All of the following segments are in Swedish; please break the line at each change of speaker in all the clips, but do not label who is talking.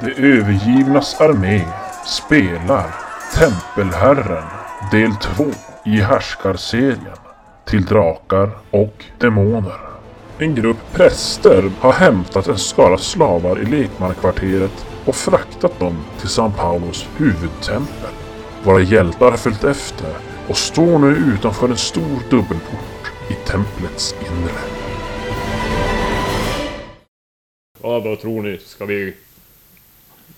De övergivnas armé spelar Tempelherren del 2 i härskarserien till drakar och demoner. En grupp präster har hämtat en skara slavar i lekmannakvarteret och fraktat dem till São Paulos huvudtempel. Våra hjältar har följt efter och står nu utanför en stor dubbelport i templets inre.
Ja, vad tror ni? Ska vi...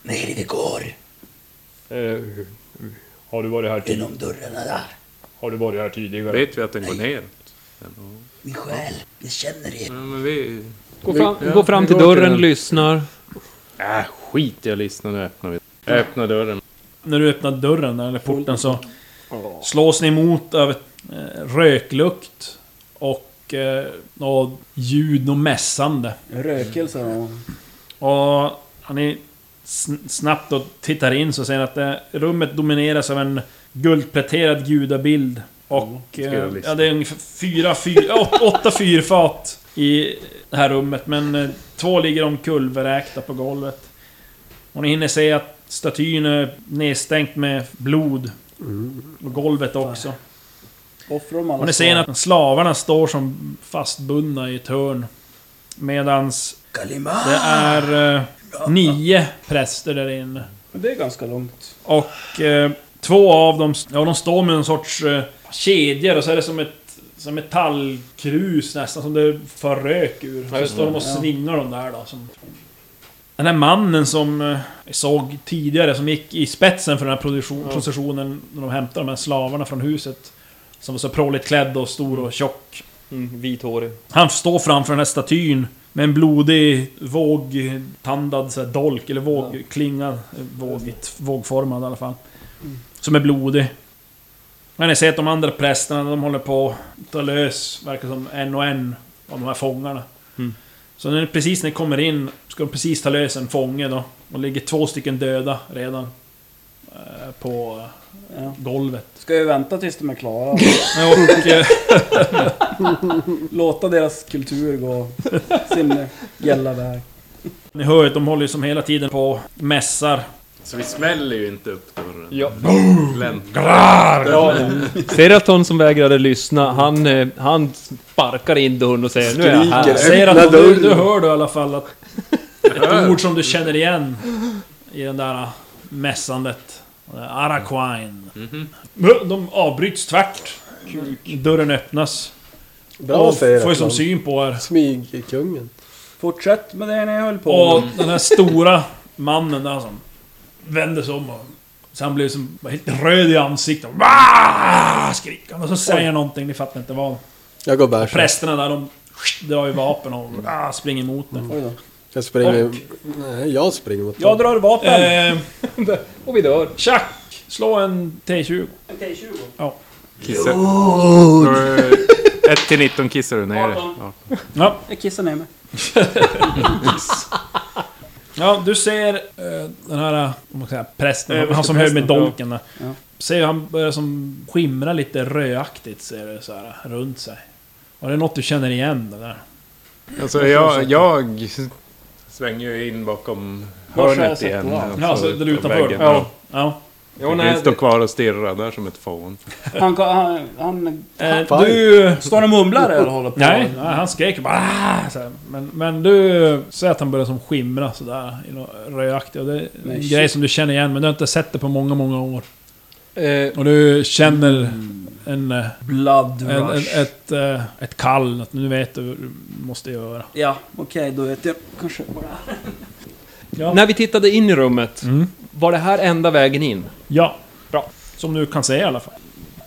Nej, vi går
Eh, har, du varit här tid...
genom dörrarna där.
har du varit här tidigare?
Vet vi att den går neråt?
Vi stjäl, vi känner er.
Ja,
Mm.
men vi...
Gå fram,
Ja,
gå fram
vi
till
går
dörren,
den.
lyssnar.
Äh, skit i att lyssna nu öppnar vi. Jag öppnar dörren.
När du öppnar dörren eller porten så slås ni emot av eh, röklukt och eh, något ljud och mässande.
Rökelse och...
Och när ni sn- snabbt då tittar in så ser ni att det, rummet domineras av en guldpläterad gudabild. Och
Mm, ska
eh,
jag lista.
ja, det är ungefär fyra, fyra, åt- åtta fyrfat i det här rummet. Men eh, två ligger omkull vräkta på golvet. Och ni hinner se att statyn är nedstänkt med blod. Och golvet också.
Offra dem alla.
Och ni ser att slavarna står som fastbundna i ett hörn. Medans
Kalima!
det är eh, nio präster där inne.
Men Det är ganska långt.
Och eh, två av dem, ja de står med en sorts eh, kedjor och så är det som ett som metallkrus nästan, som det för rök ur. Så står de och svingar de där då. Som... Den här mannen som eh, vi såg tidigare, som gick i spetsen för den här produktion, processionen när de hämtade de här slavarna från huset. Som var så pråligt klädd och stor och tjock.
Mm, Vithårig.
Han står framför den här statyn med en blodig vågtandad så här, dolk, eller vågklinga. Vågigt, vågformad i alla fall. Som är blodig. Men ni ser att de andra prästerna, de håller på att ta lös, verkar som, en och en av de här fångarna. Så när, precis när ni kommer in, ska de precis ta lös en fånge då. Och ligger två stycken döda redan. eh, På eh,
Ja.
golvet.
Ska jag vänta tills de är klara?
Och, eh,
Låta deras kultur gå sin gälla väg.
ni hör ju att de håller ju som hela tiden på och mässar
Så vi smäller ju inte upp dörren.
Ja.
Gläntar.
Seraton som vägrade lyssna, han, eh, han sparkar in dörren och säger nu är jag här.
Säger att du, du hör du i alla fall att ett ord som du känner igen i den där mässandet. Araquine.
Mm-hmm.
De avbryts tvärt. Dörren öppnas.
Bra säger
får ju som
jag.
syn på er.
Smygkungen.
Fortsätt med det ni höll på
Och
med.
den här stora mannen där som vänder sig om och... Så han blir som helt röd i ansiktet. Waaah! Skriker han och så säger han någonting, ni fattar inte vad.
Jag går bärs.
Prästerna där de drar ju vapen och ah, springer emot den.
Oj då.
Jag springer... Nej, jag springer mot
Jag
dem.
drar vapen!
Eh,
Och vi dör.
Tjack! Slå en T20.
Kissa. Eh, 1 till 19 kissar du ner dig. Ja.
Ja,
Jag kissar ner mig.
ja du ser eh, den här eh, vad man säga, prästen, han- han som höll med dolken där.
ja.
Ser han börjar som skimra lite röaktigt ser du så här runt sig. Och det är något du känner igen det där.
Alltså jag, jag svänger ju in bakom hörnet igen.
Ja, alltså där utanför.
Väggen, ja.
Ja. ja.
Jo, nej, jag står kvar och stirrar där som ett fån.
Han, han, han...
Eh, du...
Står han och mumlar eller håller på?
Nej, nej, han skrek bara "Ah!" så här. men, men du ser att han börjar som skimra sådär i något rödaktigt. Och det är en
Nej, shit.
grej som du känner igen men du har inte sett det på många, många år.
Eh,
Och du känner en... eh,
Blood Mm. rush.
En, en, ett, eh, ett kall, att nu vet du vad du måste göra.
Ja, okej då vet jag kanske vad det är.
Ja.
När vi tittade in i rummet,
Mm.
var det här enda vägen in?
Ja, bra. Som du kan säga i alla fall.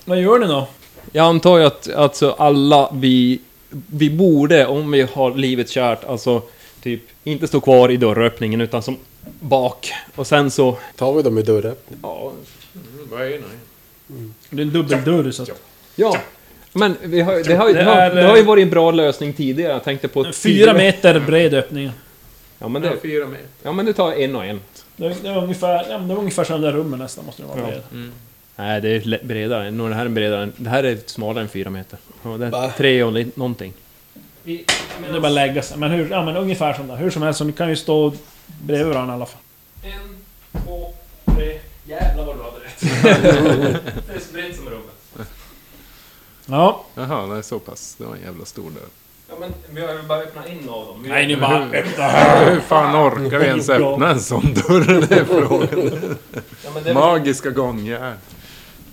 Vad gör ni då?
Jag antar ju att alltså, alla vi, vi borde, om vi har livet kärt, alltså typ inte stå kvar i dörröppningen utan som bak. Och sen så...
Tar vi dem i dörröppningen?
Ja.
Det är en dubbeldörr så att...
ja. Men vi har, det, har, ju-
Det
det, har,
är,
det
eh,
har ju varit en bra lösning tidigare. Jag tänkte på...
en Fyra
tidigare-
meter bred öppning.
Ja men, det,
Fyra med.
ja men det tar en och en.
Det var, det var ungefär, ja, men det var ungefär som den där rummen nästan, måste det vara. bred.
Nej, det är le- bredare. Nog det här är bredare. än- Det här är smalare än fyra meter. Ja, det är
Va?
tre och li- någonting.
Men Det är bara att lägga sig. Men, hur, ja, men ungefär som det. Hur som helst, så ni kan ju stå bredvid varandra i alla fall.
Eh, Det är spritt som rummet.
Ja.
Jaha, nej så pass. Det var en jävla stor dörr.
Ja men vi har ju bara öppnat en av dem.
Nej, ni bara... Öppna
Hur fan orkar vi ens öppna en sån dörr? Det är frågan.
Ja, men det var...
Magiska gångjärn.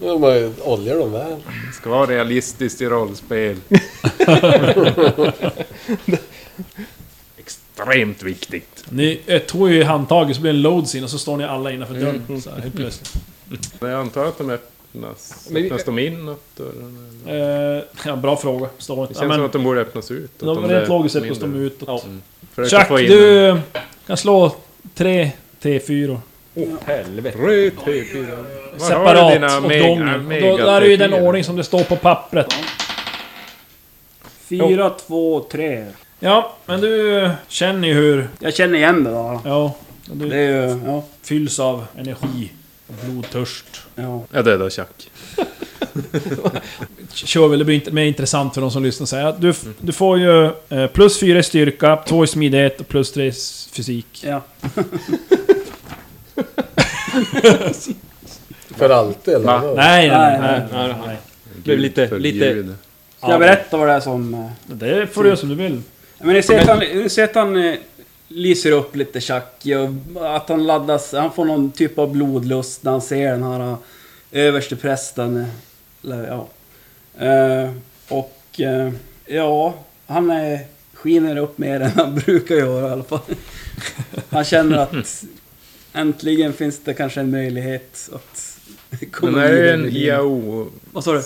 De har ju- oljar de väl.
Ska vara realistiskt i rollspel. Extremt viktigt.
Ni eh, tog ju i handtaget så blir det en loads in och så står ni alla innanför dörren.
Mm.
Så här, helt plötsligt.
Men jag antar att de öppnas.
Men vi-
Öppnas de inåt dörren? eller?
Eh, ja, bra fråga. Står
Det
inte.
känns
Ja,
som
men,
att de borde öppnas ut.
de,
det
rent
är
logiskt sett måste
mindre.
de utåt.
Ja.
Försöka
Jack,
få in en.
du kan slå tre T4.
Helvete.
Röd T4. Var har du
Separat
dina
åt
mega-
gången. Och
mega
Då där är ju den
T4?
ordning som det står på pappret.
Fyra, två, tre.
Ja, men du känner ju hur...
Jag känner igen det då.
Ja, du
Det är ju... Ja.
fylls av energi. och Blodtörst.
ja.
Jag dödar Jack.
kör väl, det blir inte mer intressant för de som lyssnar. Så här. Du, du får ju eh, plus 4 i styrka, 2 i smidighet och plus 3 i s- fysik.
ja.
För alltid eller?
Va?
vadå?
Nej, nej,
Nej,
nej.
nej,
nej, nej.
Blev lite-
Gud
lite-
förbjude.
Ska jag berätta vad det är som... eh,
Det får du göra som du vill.
Ja, Men ni ser att han, ni ser att han eh, lyser upp lite tjackig och att han laddas, han får någon typ av blodlust när han ser den här eh, översteprästen. eh, Eller, ja. Eh, och eh, ja, han eh, skiner upp mer än han brukar göra i alla fall. Han känner att äntligen finns det kanske en möjlighet att komma
Men det är ju en
vidare.
IAO-snubbe.
Vad sa du?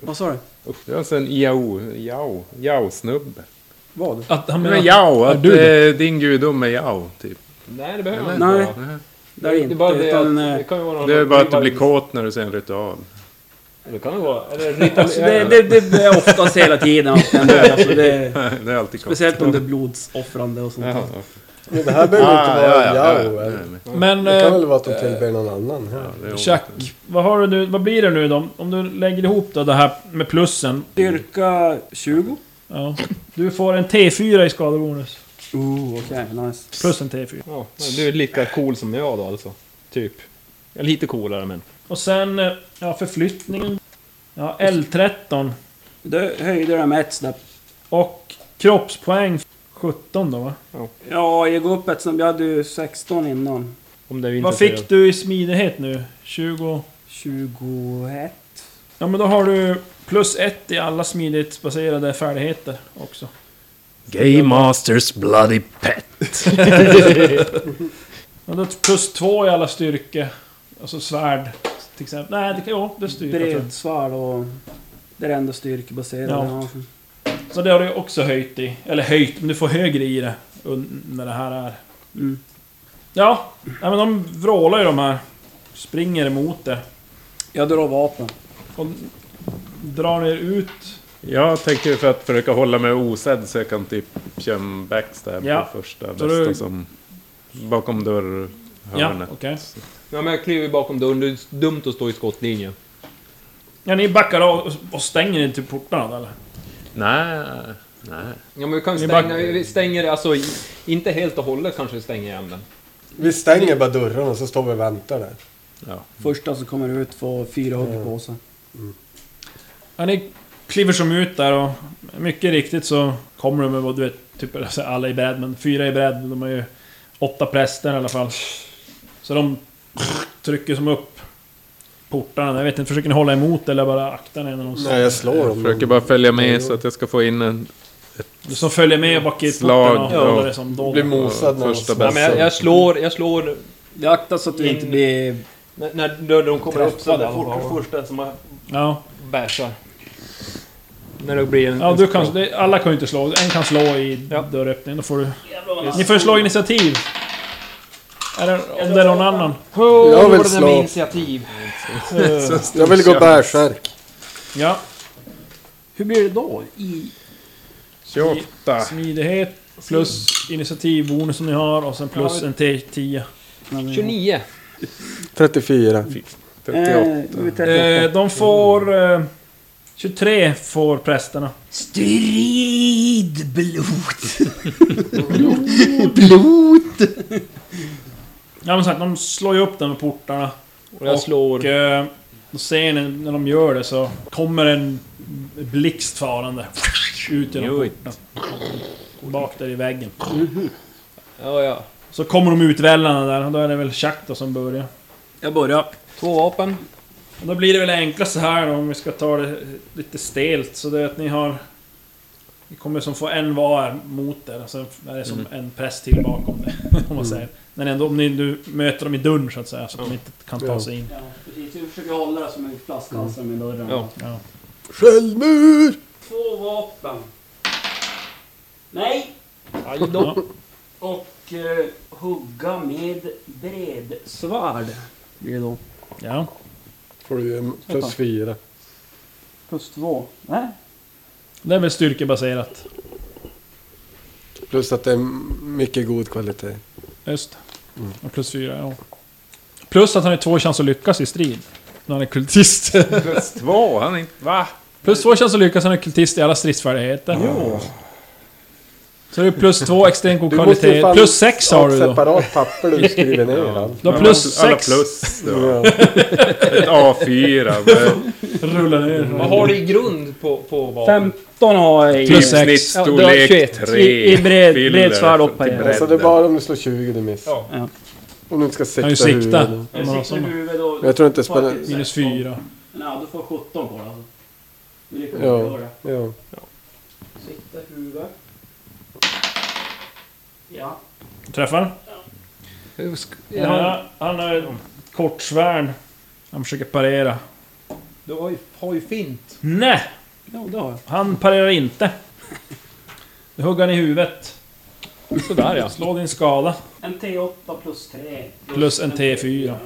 Vad sa du?
Det är alltså en IAO... Jao. Jao-snubbe.
Vad?
Att han
Men
menar...
Jao,
är
att
du
du din gudom är Jao, typ.
Nej det behöver
Eller?
man inte
Nej.
vara.
Nej.
Det är det
Det
inte.
är bara det
utan,
att...
eh,
Det kan ju vara någon...
Det är bara att du blir kåt när du ser en ritual.
Det kan det vara. Eller ritual...
Alltså det, det, det är oftast hela tiden allt det händer. alltså det,
det är alltid kåt.
Speciellt om det är blodsoffrande och sånt.
Ja,
Men det här behöver inte vara en jao.
ja,
eller?
nej, men-
Men...
Det kan
Eh,
väl vara att de tillber någon annan. Ja.
det är
Jack, vad har du nu? Vad blir det nu då? Om du lägger ihop då det här med plussen.
Styrka 20.
Ja. Du får en T4 i skadebonus.
Oh, okej. nice.
Plus en T4.
Ja, men du är lika cool som jag då alltså. Typ. Ja, Lite coolare men.
Och sen... eh, Ja, förflyttningen. Ja, L13.
Då höjde jag med ett snäpp.
Och kroppspoäng 17 då va?
Ja, jag går upp ett snäpp. Jag hade ju 16 innan.
Om det är
Vad
intresserad.
fick du i smidighet nu? 20...
21.
Ja men då har du plus ett i alla smidighetsbaserade färdigheter också.
Game Masters Bloody Pet.
Men då plus två i alla styrke. Alltså svärd till exempel. Nej, det kan ja, det är styrka tror jag.
Bredsvärd och... Det är ändå styrkebaserat.
Ja.
Ja.
Så det har du också höjt i. När Eller höjt, men du får högre i det un- när det här är.
Mm.
Ja, nej, men de vrålar ju de här. Springer emot det.
Jag drar vapen.
Och drar ner ut.
Jag tänker för att försöka hålla mig osedd så jag kan typ köra en backstab
Ja.
på första
Så
bästa
du-
som... Bakom
Ja,
dörrhörnet.
okej.
Ja men jag kliver bakom dörren, det är dumt att stå i skottlinjen.
Ja, ni backar av och- och stänger inte portarna då, eller?
Nej, nej.
Ja men vi kan
Ni
stänga,
back-
vi stänger alltså i- inte helt och hållet kanske vi stänger igen den.
Vi stänger bara dörrarna och så står vi och väntar där.
Första som kommer ut får fyra hugg på sig.
Ja, ni kliver som ut där och mycket riktigt så kommer de med vad du vet, typ alltså alla i bräd, men fyra i bräd, de har ju åtta präster i alla fall. Så de trycker som upp portarna. Jag vet inte, försöker ni hålla emot eller bara akta ni när de
Nej, jag slår dem.
Försöker bara följa med så att jag ska få in en...
som följer med bak i
Slag,
portarna och
ja.
håller det som
Blir
dolda.
mosad när de
Första
slår.
bästa.
Nej, men jag, jag slår, jag slår
Det aktas så att du
In-
inte blir...
när, när dörren kommer Mm. upp så är det
Träffade
folk-
folk.
först den som man
Ja.
bärsar. När det blir en...
ja,
en
du kan,
skrock.
det- alla kan ju inte slå. En kan slå i
Ja.
dörröppningen, då får du... Ni får slå initiativ. Eller om det är någon annan.
Åh,
Jag vill
det där med
slå.
initiativ.
Jag vill gå bärsärk.
Ja.
Hur blir det då? I...
28.
Smidighet plus initiativbonus som ni har och sen plus en T10.
29.
34.
38.
Eh, de får... Eh, 23 får prästerna.
Strid blod.
Ja men sagt, de slår ju upp den med portarna.
Och jag slår...
Och eh, då ser ni när de gör det så kommer en blixt farande ut genom
Oj.
porten. Bak där i väggen.
Ja, ja.
Så kommer de utvällarna där och då är det väl Chuck då som börjar.
Jag börjar.
Två vapen.
Och då blir det väl enklast så här då, om vi ska ta det lite stelt. Så det är att ni har... Ni kommer som få en var mot er och sen är det som en press till bakom det. Om man säger. Men ändå om ni nu möter dem i dörren så att säga, så att de inte kan ta sig in.
Ja, precis. Jag försöker hålla det som en flaskhals med dörren.
Ja.
Ja.
Självmord!
Två vapen. Nej!
Aj
Ja.
Och eh, hugga med bredsvärd. Blir det då.
ja.
Får du en plus fyra.
Plus två. Nej.
Det är väl styrkebaserat.
Plus att det är mycket god kvalitet.
Just det. Och Plus fyra, ja. Plus att han har två chanser att lyckas i strid. När han är kultist.
Plus två, han är inte... Va?
plus två chanser att lyckas när han är kultist i alla stridsfärdigheter. Så det är plus två extrem god
ju
kvalitet.
fan
Plus sex har
ett
du då.
separat papper där du skriver ner allt.
Du har plus
Alla
sex.
plus. Då.
Ja.
Ett A4. men
Rullar ner.
Vad har du i grund på, på vapen?
15 har jag i.
Plus sex.
Ja, du har
Genomsnittsstorlek
21
3.
I, i bred,
Filler
bredsvärd och
till
parera.
bredd.
Alltså det är bara om du slår 20 du missar.
Ja.
Om du inte ska
Han
sikta,
ju sikta.
huvudet.
Om man har såna.
huvud och...
Men jag tror inte det spelar...
Minus fyra.
Nej, du får 17 på det alltså. Du lyckas
Ja. Ja.
Sikta huvudet. Ja.
Träffar.
Ja,
Han, han har ett kortsvärd. Han försöker parera.
du har ju, har ju fint.
Nej!
Ja, det har jag.
Han parerar inte. Du hugger han i huvudet.
Sådär ja.
Slå din skada.
En T8 plus 3.
Plus en T4.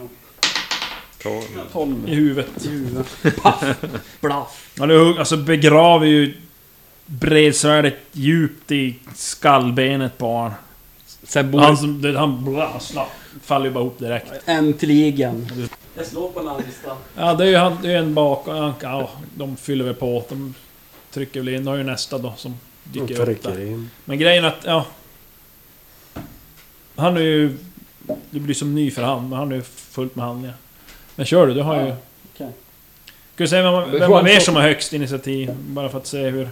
Tolv.
12.
I huvudet.
Blaff.
Ja, du hugg- alltså begraver ju bredsvärdet djupt i skallbenet på honom.
Sen
Han,
borde...
som- det- han bla, slapp, faller ju bara ihop direkt.
Äntligen. Jag slår på Landsta.
Ja, det är ju han, det är en bakom... han- Ja, de fyller väl på. De trycker väl in. De har ju nästa då som
De
dyker upp
trycker
där.
in.
Men grejen är att, ja... Han är ju... Du blir som ny för han, men han är ju fullt med handlingar. Men kör du, du har ju...
okej.
Ska vi se vem, man- vem av er som har högst initiativ? Bara för att se hur...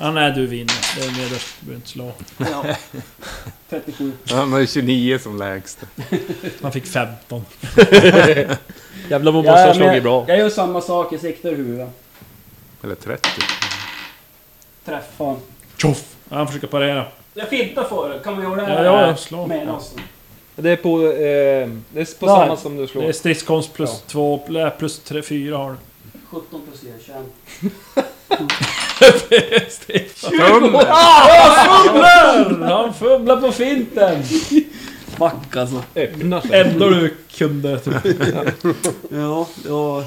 Ja, nej, du vinner. Det är nederst, du behöver inte slå.
Ja. 37.
Han har ju 29 som lägst.
Han fick 15.
Jävlar vad Bosse slog ju bra.
jag gör samma sak, jag siktar i huvudet.
Eller 30.
Träffar.
Tjoff! Ja, han försöker parera.
Jag fintar för det. Kan man göra det
Ja, ja, slå.
Med oss?
Det är på... Eh, det är på
Där.
samma som du
Det är
slår.
stridskonst plus 2, plus 3, 4 har du.
17 plus 4, 21.
Tum!
Han fumlar på finten!
Fuck alltså.
Öppnar sig.
Ändå du kunde. tror jag.
Ja, ja.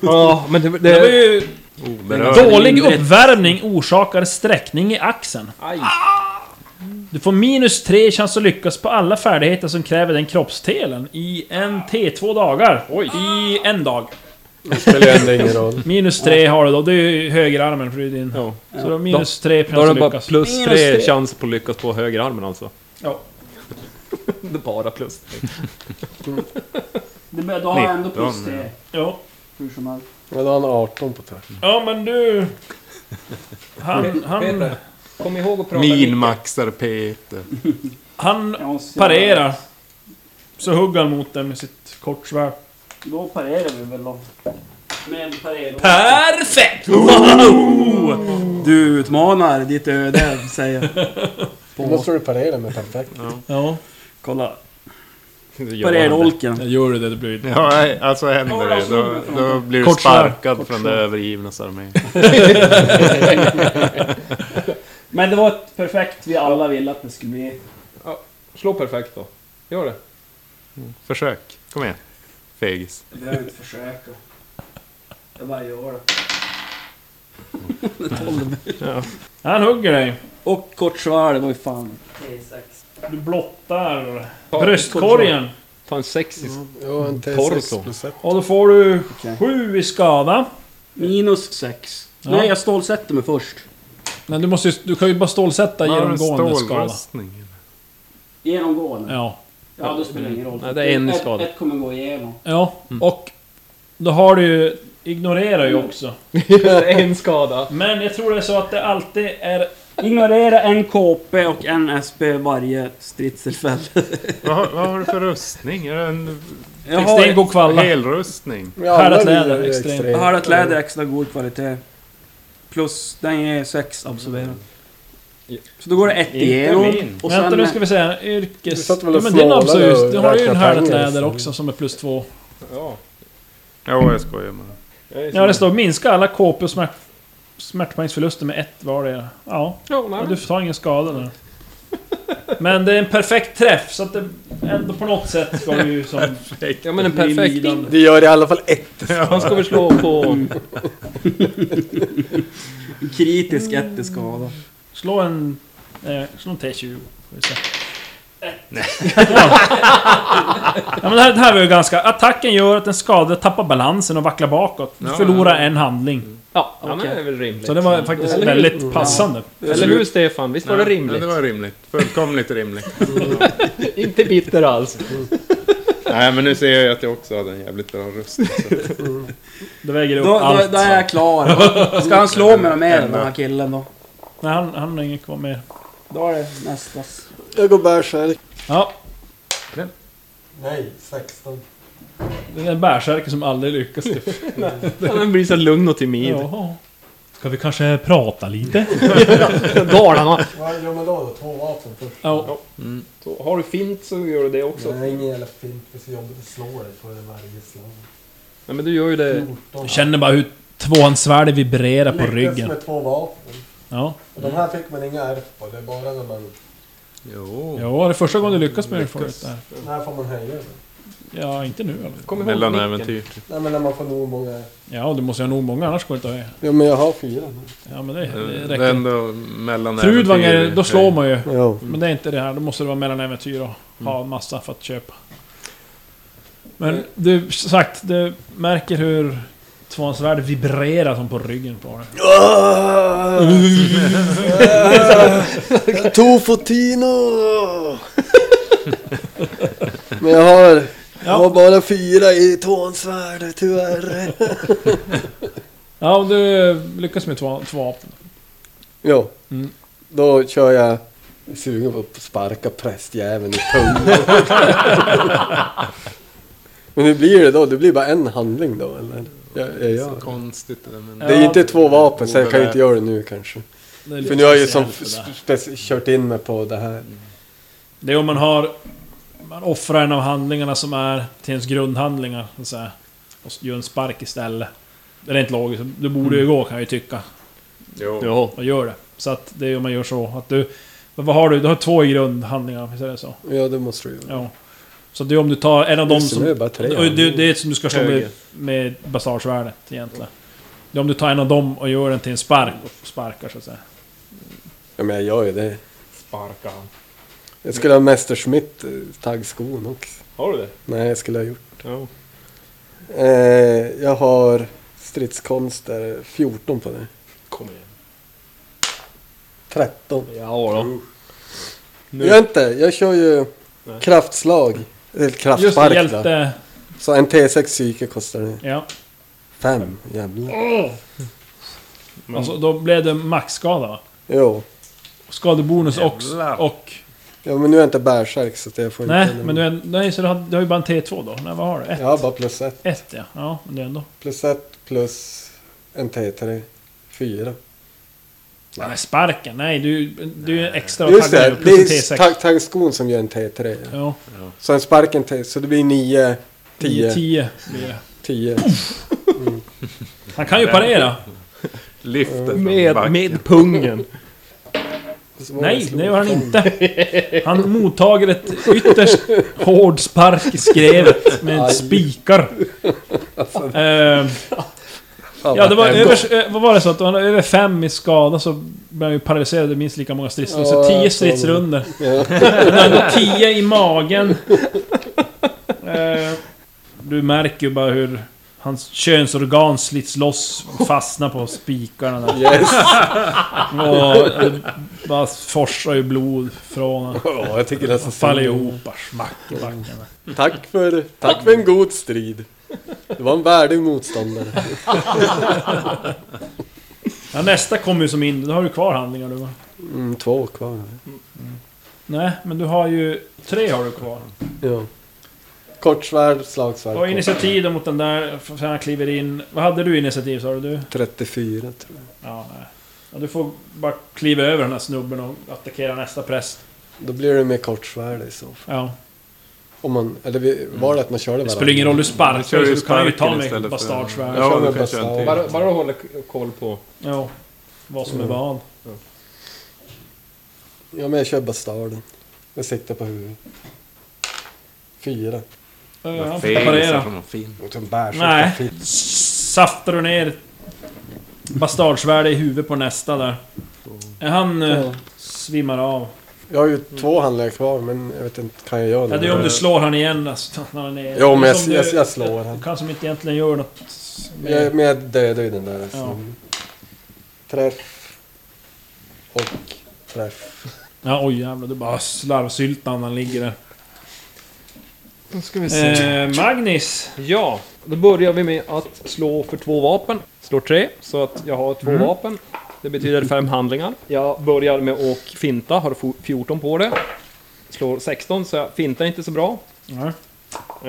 Ja, men det...
Det var
det
ju...
Oberörd.
Dålig uppvärmning orsakar sträckning i axeln.
aj.
Du får minus 3 chans att lyckas på alla färdigheter som kräver den kroppsdelen i en T2 dagar. I en dag.
Spelar ju ändå ingen roll.
Minus 3 har du då. Det är ju högerarmen för det är din.
Ja.
Så du har minus 3
Då har
chans
den
att
bara
lyckas.
plus
Minus
tre
tre.
chans på att lyckas på högerarmen alltså.
Ja.
Det är bara plus.
Det, bör- då har jag ändå plus
19,
3.
Ja.
Hur som helst.
Men då har han 18 på tvärt.
ja, men du... Han... han,
Peter, kom ihåg att prata
Minmaxar Peter.
han
Jag måste-
parerar. Så hugger han mot den med sitt kortsvärd.
Då parerar vi väl då. Med en parering.
Perfekt!
Du utmanar ditt öde, säger jag.
Då måste du parera med perfekt.
Ja,
Kolla.
Ja,
Parerolken.
gör du det, det blir...
nej, alltså händer det. Då, då blir du
Kort svar.
sparkad från det övergivnas armé.
Men det var ett perfekt vi alla ville att det skulle bli.
Slå perfekt då. Gör det.
Försök. Kom igen. Fegis.
Jag behöver inte försöka. Jag bara gör det.
Han hugger dig.
Och kort svar, det var ju fan... T6.
Du blottar bröstkorgen.
Ta en sexis.
Ja, en
Torso.
T6 plus 1.
Och då får du
Okej.
sju i skada.
Minus 6.
Ja.
Nej, jag stålsätter mig först.
Men du, måste ju, du kan ju bara stålsätta
Har du en
genomgående skada.
stålröstning?
Genomgående.
Ja.
Ja, då spelar det ingen roll.
Nej, det är en i
ett,
skada.
Ett kommer gå igenom.
Ja, och då har du ju... Ignorerar ju också.
en skada.
Men jag tror det är så att det alltid är...
Ignorera en KP och en SP varje stridstillfälle.
Vad, har- vad har du för rustning? Är det en
Jag
Sten
har
går kvalla.
helrustning?
Ja, alla
Härdat läder,
djur är ju
extremt.
jag har ett läder extra god kvalitet. Plus, den ger 6 absorberad. Så då går det ett igenom. Och sen...
Vänta nu ska vi säga,
Du
yrkes...
satt väl
Ja,
och
men din
snålade
absolut,
och
du har ju en
räknade
härdat
pengar.
läder också som är plus två.
Ja, jag skojar bara.
Ja, det står minska alla KP och smärt, smärtpoängsförluster med ett var det. Ja, och du tar ingen skada där. Men det är en perfekt träff, så att det ändå på något sätt ska du ju som...
Ja men en perfekt...
Det gör i alla fall ett.
Han ska väl slå på...
Kritisk ett i skada.
Slå en... Eh, slå en T20. får vi se. Ja. ja, men det här, det här var ju ganska... Attacken gör att den skadade tappar balansen och vacklar bakåt. Du
Ja,
förlorar en handling.
Ja, ja men det är väl rimligt.
Så det var faktiskt
Eller hur?
väldigt passande.
Eller hur Stefan? Visst var det rimligt?
Ja, det var rimligt. Fullkomligt rimligt.
Inte bitter alls.
Nej, men nu ser jag ju att jag också hade en jävligt bra rustning. så att-
Det väger upp
Då, då,
allt.
då är jag klar. Ska han slå mig med den här killen då?
Nej, han, han har inget kvar mer.
Då är det nästas.
Jag går bärsärk.
Ja,
Nej, 16.
det är en bärsärke som aldrig lyckas.
Han blir så lugn och timid.
Jaha. Ska vi kanske prata lite?
Dalarna.
Vad gör man då? då? Två vapen först?
Ja.
Så har du fint så gör du det också.
Nej, ingen jävla fint. Det är så jobbigt att slå dig på det varje slag.
Nej men du gör ju det...
14.
Jag känner bara hur tvåans svärd vibrerar på
Lyckas
ryggen. Mm.
med två vapen.
Ja.
Och de här fick man inga ärr på. Det är bara när man...
Jo.
Jo, det är första gången du lyckas med det förut. där.
När får man höja det?
Ja, inte nu eller?
Kom ihåg nicken.
Mellanäventyr.
Nej, men när man får nog många ärr.
Ja, du måste ju ha nog många annars går det inte att höja.
Ja, men jag har fyra nu.
Ja, men det,
Eh,
det
Det är
räcker.
ändå mellanäventyr.
Trudvanger, då slår man ju.
Ja.
Men det är inte det här, då måste det vara mellanäventyr och ha
Mm.
massa för att köpa. Men du, som sagt, du märker hur tvåans svärd vibrerar som på ryggen på dig.
Tofotino! Men jag har, jag har bara fyra i tvåansvärde tyvärr.
Ja, om du lyckas med två, två vapen.
Jo,
Mm.
då kör jag jag är sugen på att sparka prästjäveln i pungen. Men hur blir det då? Det blir bara en handling då eller? Ja, ja, ja.
Så konstigt det där, men...
Det är inte två vapen så jag kan ju inte göra det nu kanske.
Det är lite
För nu har jag ju som
speciellt sådär.
spec- kört in mig på det här.
Det är om man har... Man offrar en av handlingarna som är till ens grundhandlingar, så att säga. Och gör en spark istället. Det är inte logiskt, du borde
Mm.
ju gå kan jag ju tycka.
Jo.
Jo.
Och gör det. Så att det är om man gör så, att du... men Vad har du? Du har två i grundhandlingar, visst är det så?
Ja det måste du göra.
Ja. Så det är om du tar en av dem
Just nu är det
som...
bara tre.
Och det, det är som du ska slå med, med basarsvärdet egentligen. Det är om du tar en av dem och gör den till en spark och sparkar så att säga.
Ja men jag gör ju det. Jag skulle ha Messerschmitt eh, taggskon också.
Har du det?
Nej, jag skulle ha gjort.
Ja.
Eh, jag har stridskonster 14 på det.
Kom igen.
13.
Ja då.
Jag gör inte, jag kör ju kraftslag. Eller
Just det,
kraftspark då.
hjälte...
Så en T6 psyke kostar det.
Ja.
Fem, jävlar.
Alltså, då blev det maxskada va?
Jo.
Skadebonus och...
Jävlar.
och
Ja men nu är jag inte bärsärk så att jag får
nej,
inte...
men du, är, nej, så du, har, du har ju bara en T2 då? Nej, vad har du? Ett,
Jag har bara plus ett.
ett ja. Ja, men det är ändå...
Plus ett plus en T3. Fyra.
Nej, sparken. Nej, du, du är ju en extra
Just
taggad
det,
nu,
det
plus en T6.
är tagg- taggskon som gör en T3. Ja.
ja,
Så en spark en T, så det blir nio,
tio.
tio,
tio blir det.
tio.
Han kan ju parera.
Mm.
Lyftet från
Med,
backen.
med pungen.
Så var
Nej,
slog.
det gör han inte. Han mottager ett ytterst hård spark i skrevet med
Aj.
spikar. Ehm,
Fan,
ja, det var
vad hemskt.
över, eh, vad var det så att han var över fem i skada så blev han ju paralyserad i minst lika många stridsrunder. Så
Ja,
tio
jag
stridsrunder.
Ja.
Han hade ändå tio i magen. Eh, du märker ju bara hur Hans könsorgan slits loss, fastnar på spikarna där.
Yes.
Och det bara forsar ju blod från honom.
Ja, jag tycker nästan
Han
synd
faller
om
ihop, bara smack i backen.
Tack för, tack för en god strid. Det var en värdig motståndare.
Ja, nästa kommer ju som in, då har du kvar handlingar du va?
Mm, två kvar. här.
Nej, men du har ju... Tre har du kvar.
Ja. Kortsvärd, slagsvärd.
Och
kort.
initiativ då mot den där, för han kliver in. Vad hade du i initiativ sa du? du?
34 tror jag.
Ja, nej. Ja, du får bara kliva över den här snubben och attackera nästa präst.
Då blir det med kortsvärd i så fall.
Ja.
Om man, eller vi- var det att man körde
Mm. Det
varandra?
spelar ingen roll hur du
Jag
sparkar,
kör
så
ju
du kan ju ta
sparken
med
istället för-
bastardsvärd. Ja.
Ja,
kör
du
med
kan köra en till.
bastar.
Bara, bara hålla k- koll på...
vad som är
Mm.
vad.
Ja, men jag kör bastarden. Jag siktar på huvudet. Fyra.
Eh, Han får
Fel, liksom.
parera.
så fin.
Och en bärsjuka
Nej.
fick-
Saftar du ner bastardsvärde i huvudet på nästa där. Eh, Han eh, svimmar av.
Jag har ju två handlingar kvar, men jag vet inte, kan jag göra
Ja, det är om du slår han igen alltså, när han är...
Jo, men jag,
som
jag,
du-
jag slår
Du
han.
kan som inte egentligen gör något... med-
Jag, men jag dödar ju den där.
Ja.
Så. Träff. Och träff.
Ja, oj jävlar, du bara slarvsyltan han ligger där.
Då ska vi
Eh, Magnus!
Ja, då börjar vi med att slå för två vapen. Slår tre, så att jag har
Mm.
två vapen. Det betyder fem handlingar. Jag börjar med att finta, har fo- 14 på det. Slår 16, så jag fintar inte så bra.
Nej.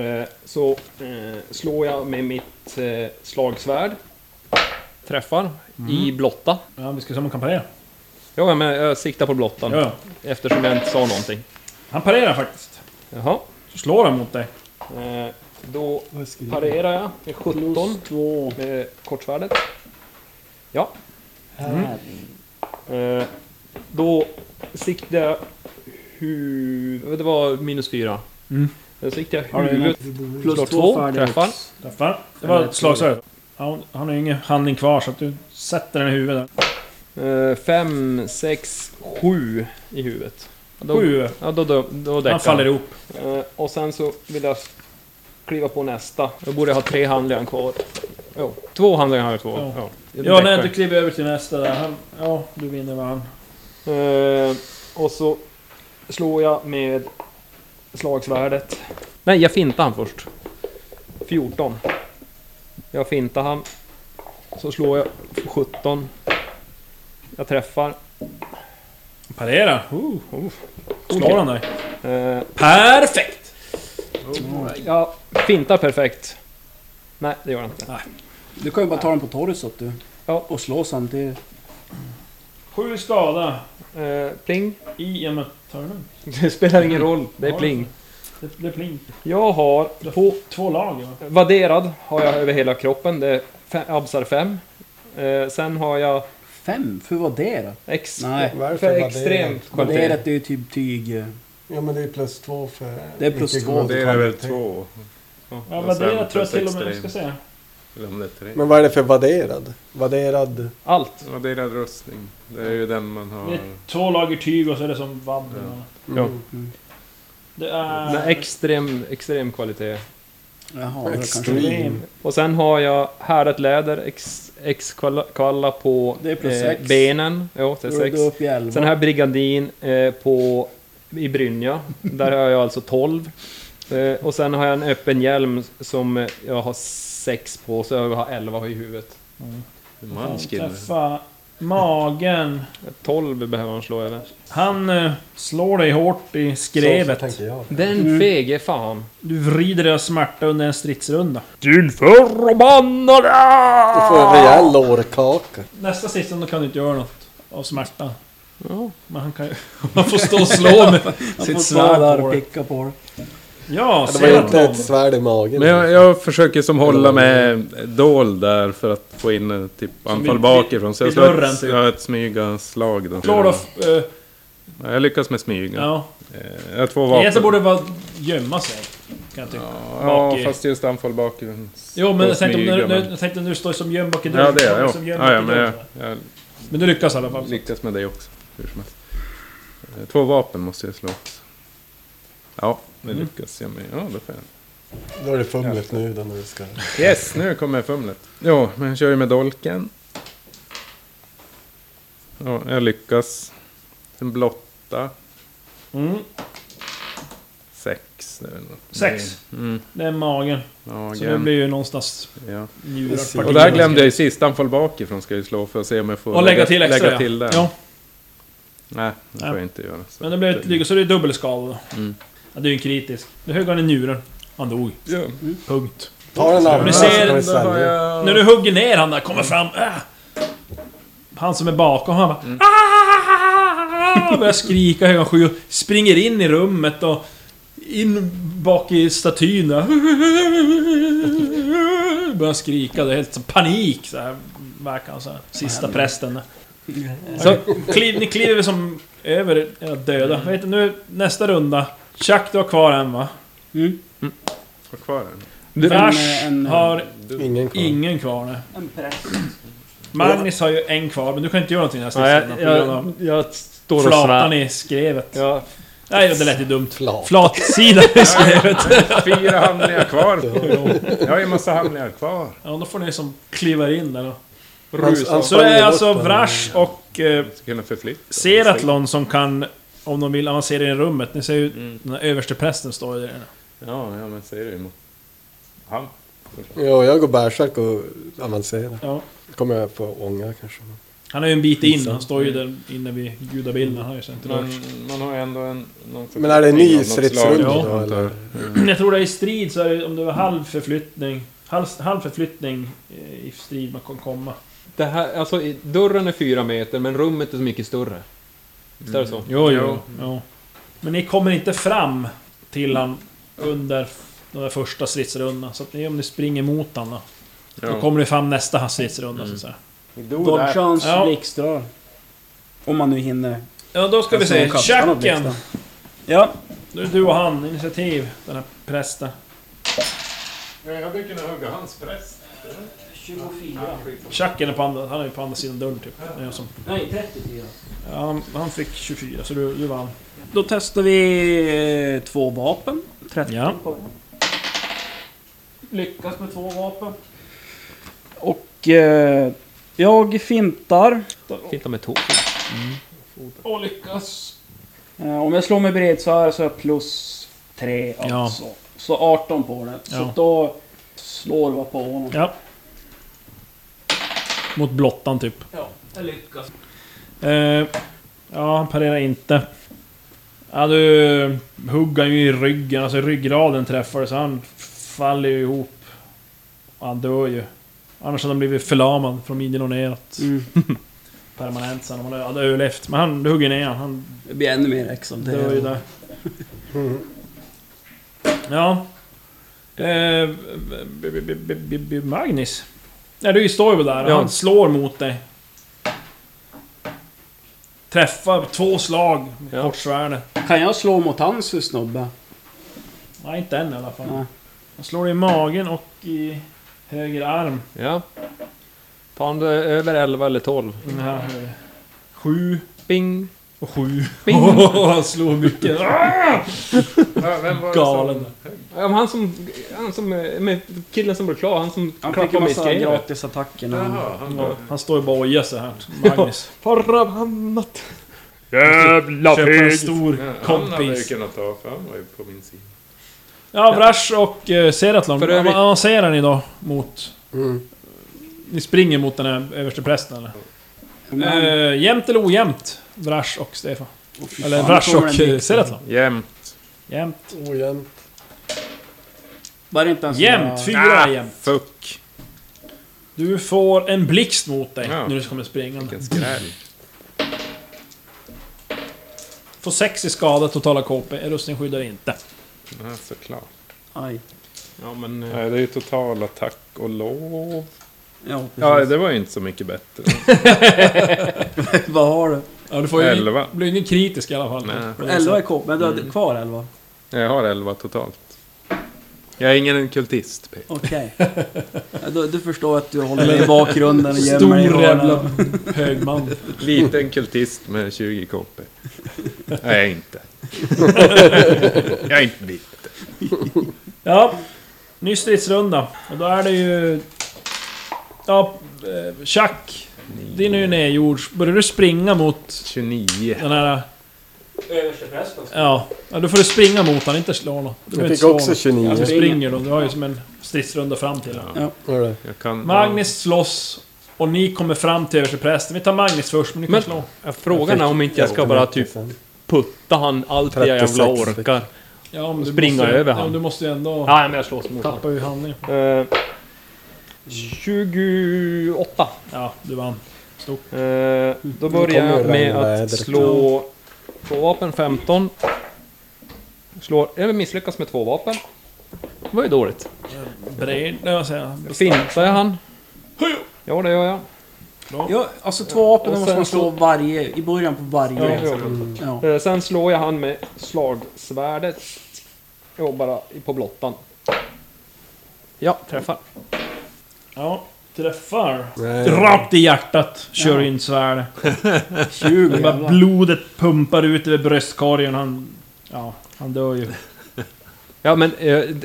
Eh, så eh, slår jag med mitt eh, slagsvärd. Träffar i blotta.
Ja, vi ska se om han kan parera.
Ja, men jag siktar på blottan
Ja, ja.
eftersom jag inte sa någonting.
Han parerar faktiskt.
Jaha.
Så slår han mot dig.
Eh, då parerar jag med 17 med kortsvärdet. Ja. Eh, då siktar jag huvudet... Det var minus 4.
Mm.
Då siktar jag
Har du
huvudet. Slår 2, träffar.
Träffar. Det var ett slagsvärd. Ja, han har ju ingen handling kvar så att du sätter den i huvudet.
eh, 5, 6, 7 i huvudet. Ja, Då,
Sju.
Ja, då, då, då däckar
Han faller ihop.
Eh, och sen så vill jag kliva på nästa. Då borde jag ha tre handlingar kvar. Jo, två handlingar har jag kvar.
Ja.
Ja,
Ja, nej,
däckar.
du kliver över till nästa där. Han, ja, du vinner vad han.
Eh, och så slår jag med slagsvärdet. Nej, jag fintar han först. 14. Jag fintar han. Så slår jag 17. Jag träffar.
Parera! Uh, uh. Slår han dig?
Eh,
Perfekt!
jag fintar perfekt. Nej, det gör jag inte.
Du kan ju bara ta den på torsot du.
Ja.
Och slå samtidigt.
Sju skada
Eh, pling.
i en turnen.
Det spelar
Mm.
ingen roll. Det är pling.
Det, det är plink.
Jag har på
Två lag va?
vadderad har jag över hela kroppen. Det är fe- absar 5. Eh, sen har jag
Fem? För vad det då?
ex-
Nej.
Varför
För
var det-
extremt
Det är
kvalitet.
att det är typ tyg... eh,
Ja, men det är plus två för...
Det är plus
mycket
två.
god
Det
Det är väl
kvalitet.
två.
Ja,
Och
men
sen
det jag tror
plus
jag till och med...
extrem.
Ska se.
Eller om det är tre.
Men vad är det för värderad? Värderad...
Allt.
Vadderad rustning. Det är ju den man
Det
har.
är två lager tyg och så är det som vadd. eller-
Ja.
mm,
Det är...
Med extrem, extrem kvalitet.
Jaha, det kanske...
Extreme.
Och sen har jag härdat läder, ex, ex kvalla- kvalla på eh,
Det är plus sex.
benen. Jo, det är
Då är
sex.
du upp i elva.
Sen har jag brigandin eh, på, i Brynja. Där har jag alltså 12. Eh, och sen har jag en öppen hjälm som eh, jag har 6 på, så jag har 11 i huvudet.
Manskin.
Träffa magen.
12 behöver man slå över.
Han eh, slår dig hårt i
Så
skrevet.
tänker jag.
Mm.
Den fege fan.
Du vrider dig av smärta under en stridsrunda.
Din förbannade!
Du får en rejäl lårkaka.
Nästa stridsrunda kan du inte göra något av smärta.
Ja.
Men han kan ju... Man får stå och slå med
Man får
sitt
stå där
svärd på
och
dig.
picka på det.
Ja,
Det var ju inte
Seratlon.
ett svärd i magen.
Men jag, jag försöker som hålla med dold där för att få in eh, typ anfall
vid-
bakifrån. Så jag
vid
slår
dörren,
ett,
typ.
jag har ett smyga slag då.
Slår då... eh,
Ja, Jag lyckas med smyga.
ja.
Eh, Jag har två vapen.
Egentligen borde det vara gömma sig. Kan jag tycka.
Ja,
bak i.
fast just anfall bakifrån.
Jo, men
Och
jag tänkte, om
smyga,
du, nu,
men-
jag tänkte om du står som gömd bak i dörren.
Ja, det gör
kommer
jag.
som
jo.
gömd
Ja, ja,
bak i
men jag,
dörren.
jag
Men du lyckas i alla fall.
lyckas med det också. Hur som helst. Eh,
Mm.
Två vapen måste jag slå också. Ja, det lyckas jag med. Ja, det får jag.
Då är det fumlet nu då när du ska...
Yes, nu kommer fumlet. Jo, men jag kör ju med dolken. Ja, jag lyckas. En blotta.
Mm.
Sex. det är väl något.
Sex.
Mm,
Det är magen. Så det
magen.
blir ju någonstans
Ja.
njurpartier.
Och där glömde jag ju sist, han föll bakifrån ska jag ju slå för att se om jag får
Och lägga till extra
lägga till
ja.
där.
ja.
Nej, det får
Nej.
jag inte göra. Så.
Men det blev ett lycka, så det är dubbelskada då.
Mm.
Ja, det är ju en kritisk. Nu högg han i njuren. Han dog.
Ja.
Punkt.
Ta den andra
Ni
så
ser,
kan vi
då
svälja.
När du hugger ner han där, kommer fram. Äh. Han som är bakom, han bara... "Ah!" Börjar skrika i högan sky och springer in i rummet och... In bak i statyn där. Börjar skrika, det är helt så panik så här, verkar han så här. Sista prästen. Så kliv, ni kliver som över era döda. Vet du, nu nästa runda. Chuck, du har kvar en va?
Har kvar den.
Vash
en-
har
Ingen kvar.
ingen kvar nu.
En press.
Magnus har ju en kvar, men du kan inte göra någonting nästa
Ja,
ja,
jag,
på grund
jag,
av
jag står och
flatan
svär.
i skrevet.
Ja,
Nej, det lät ju dumt.
Flat.
Flatsidan i skrevet.
Fyra hamningar kvar. Jag har ju en massa hamningar kvar.
Ja, då får ni som kliva in där då.
Han- han
Så det är
sprang
alltså
bort på
Vrash och eh,
Ska kunna förflytta.
Seratlon som kan, om de vill, avancera in i rummet. Ni ser ju
Mm.
den här översteprästen står ju där. inne.
Ja, ja men säger du emot. Han.
den. Ja, jag går bärsärk och avancerar.
Ja.
Kommer jag på ånga kanske. men-
Han är ju en bit in, han står ju där inne vid gudabilden. Han har ju
Mm.
sett
Man, man har ju ändå en... Någon
Men är det en ny stridsrunda
Ja.
då eller?
Jag tror det är i strid så är det, om det var halv förflyttning... Halv, halv förflyttning eh, i strid man kan komma.
Det här, alltså, i- dörren är fyra meter, men rummet är så mycket större. Visst är det så?
Mm. Jo, jo. jo. Men ni kommer inte fram till han under den där första stridsrundan. Så att ni, om ni springer mot han då. Då kommer ni fram nästa stridsrunda så att säga.
Dodgeans
Ja.
blixtrar. Om man nu hinner.
Ja, då ska vi se.
Alltså, kastar något
Tjacken!
blixtrar. Ja,
Nu är du och han, initiativ. Den här prästen.
Jag hade kunnat hugga hans press.
Tjacken är på andra, han är ju på andra sidan dörren typ. Han gör som-
Nej, 34.
Ja, han, han fick 24 så du, du vann.
Då testar vi eh, två vapen. 13
Ja.
på den.
Lyckas med två vapen.
Och eh, jag fintar.
Finta med tå.
Och lyckas.
Eh, om jag slår med bredsvärd så har jag plus 3
Ja.
alltså. Så 18 på den.
Ja.
Så då slår vi på honom.
Ja. Mot blottan typ.
Ja, jag lyckas.
Eh, ja, han parerar inte. Ja, du huggar ju i ryggen, alltså ryggraden träffar så han faller ju ihop. Och han dör ju. Annars hade han blivit förlamad från midjan och neråt.
Mm.
Permanent sen om han hade överlevt. Men han, du hugger ner han, han
Det blir ännu mer X om det.
dör ju där. Ja. Eh, b- b- b- b- b- Magnus. Nej, du står ju väl där och
Ja.
han slår mot dig. Träffar två slag med
Ja.
kortsvärdet.
Kan jag slå mot hans snubbe?
Nej, inte än i alla fall.
Nej.
Han slår i magen och i höger arm.
Ja. Tar han det över 11 eller 12?
Den här höger. Sju
Bing!
och sju.
Bing.
han slår mycket.
vem var
Galen.
Ja, men han som... Han som... eh, Med killen som blev klar, han som
Han fick
klappade
ju
mig i
massa
skrevet.
det
gratisattacker. när han-
Jaha, han
Ja,
var...
Han står ju bara och ojar sig här. Magnus.
Förbannat!
Jävla
Köper en
pig!
stor
Han hade ju
kompis.
kunnat ta, för han var ju på min sida.
Ja, Vrash och eh, Seratlon.
För övrigt-
Vad avancerar ni då mot...
Mm.
Ni springer mot den här översteprästen eller?
Men-
Eh, jämnt eller ojämnt? Vrash och Stefan.
Åh, fy
Eller
fan,
Vrash
nu kommer
och
den
eh,
dit.
Seratlon.
Jämt.
Jämnt.
Ojämnt.
Var det inte ens
Jämnt!
några-
Ah!
Fyra är jämnt.
Fuck.
Du får en blixt mot dig
Ja.
när du kommer springande.
Vilken skräll.
Får sex i skada, totala KP. Rustning skyddar inte.
Ja, såklart.
Aj.
Ja, men...
eh,
Nej, det är ju total attack och lov.
Ja, precis.
Ja, det var ju inte så mycket bättre.
Vad har du?
Ja, du får ju...
Elva.
blir ingen kritisk i alla fall.
Nej.
På det
Elva är
sättet.
kvar, men du
Mm.
hade kvar elva?
eh, Jag har elva totalt. Jag är ingen kultist, Peter.
Okej. Ja, du, du förstår att du håller mig i bakgrunden och gömmer
Stor
dig i hörnan.
jävla högman.
Liten kultist med 20 kp. Nej, jag är inte. jag är inte bitter.
Ja. Ny stridsrunda. Och då är det ju... Ja, eh, Chuck. Din är ju nedjords. Börjar du springa mot
29.
den här...
Översteprästen.
Ja, ja då får du springa mot han, inte slå honom. Du
Jag
behöver
fick
inte slå
också
honom.
29.
Du springer då, du har ju som en stridsrunda fram till honom.
Vad är det?
Jag kan...
Magnus slåss. Och ni kommer fram till översteprästen. Vi tar Magnis först, men ni kan
Men-
slå.
Frågan är om inte jag ska bara typ putta han allt det jag jävla
36 fick-
orkar.
Ja, om
Springa
måste,
över
ja,
han.
du måste ju ändå...
Nej, men jag slåss mot honom.
Tappar ju handlingen.
Eh, 28.
Ja, du vann. Stort.
Eh, då börjar
Mm. kommer
jag med
regna
att
vädret.
slå två vapen 15. Slår, jag misslyckas med två vapen. Det var ju dåligt.
Bred, nej, vad säger jag?
Fintar jag han? Ja, det gör jag.
Ja, alltså två vapen
Och
då måste
sen
man slå
så-
varje, i början på
Ja, det
varje.
gör jag.
Mm.
Ja.
Eh, Sen slår jag han med slagsvärdet. Jag bara på blottan. Ja, träffar.
Ja, träffar.
Nej.
Rakt i hjärtat kör in svärdet. Det
20
bara blodet pumpar ut över bröstkorgen. Han, ja, han dör ju.
Ja, men eh, det,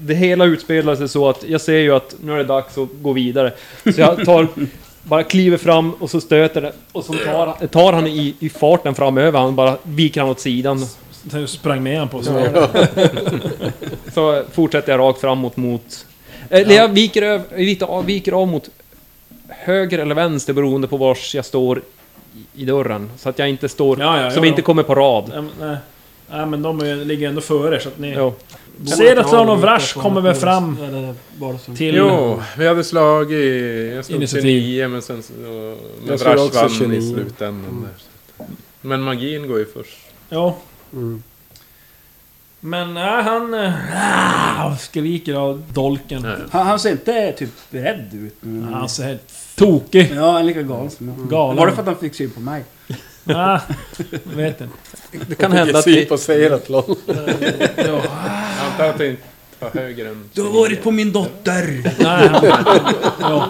det hela utspelar sig så att jag ser ju att nu är det dags att gå vidare. Så jag tar, bara kliver fram och så stöter det. Och så tar, tar han i, i farten framöver. Han bara viker han åt sidan.
Sen sprang med han på sig.
Så fortsätter jag rakt framåt mot... eh, Eller jag viker, öv, lite av, viker av mot höger eller vänster beroende på vars jag står i- i dörren. Så att jag inte står...
Ja, ja,
så
ja,
vi
ja.
inte kommer på rad.
Ja, men, Nej, Nej, men de är ju- ligger ändå före så att ni...
Jo.
Ser att Tran och Vrash kommer väl fram till...
Jo, vi hade slagit... Jag slog
Initiativ.
29 men sen... så- Men
Jag slog
Vrash
också
vann
29.
i slutändan där. så att- Men magin går ju först.
Ja.
Mm.
Men nej, han... Äh, skriker av dolken.
Nej.
Han, han ser inte typ rädd ut. Men...
Han ser helt tokig.
Ja, han är lika galen som jag.
Galen.
Var det för att han fick syn på mig?
Ah, vet inte.
Det kan hända att
Syn
vi...
på Seratlon.
Jag antar att det inte var högre än...
Du har varit på min dotter!
Nej, han, ja.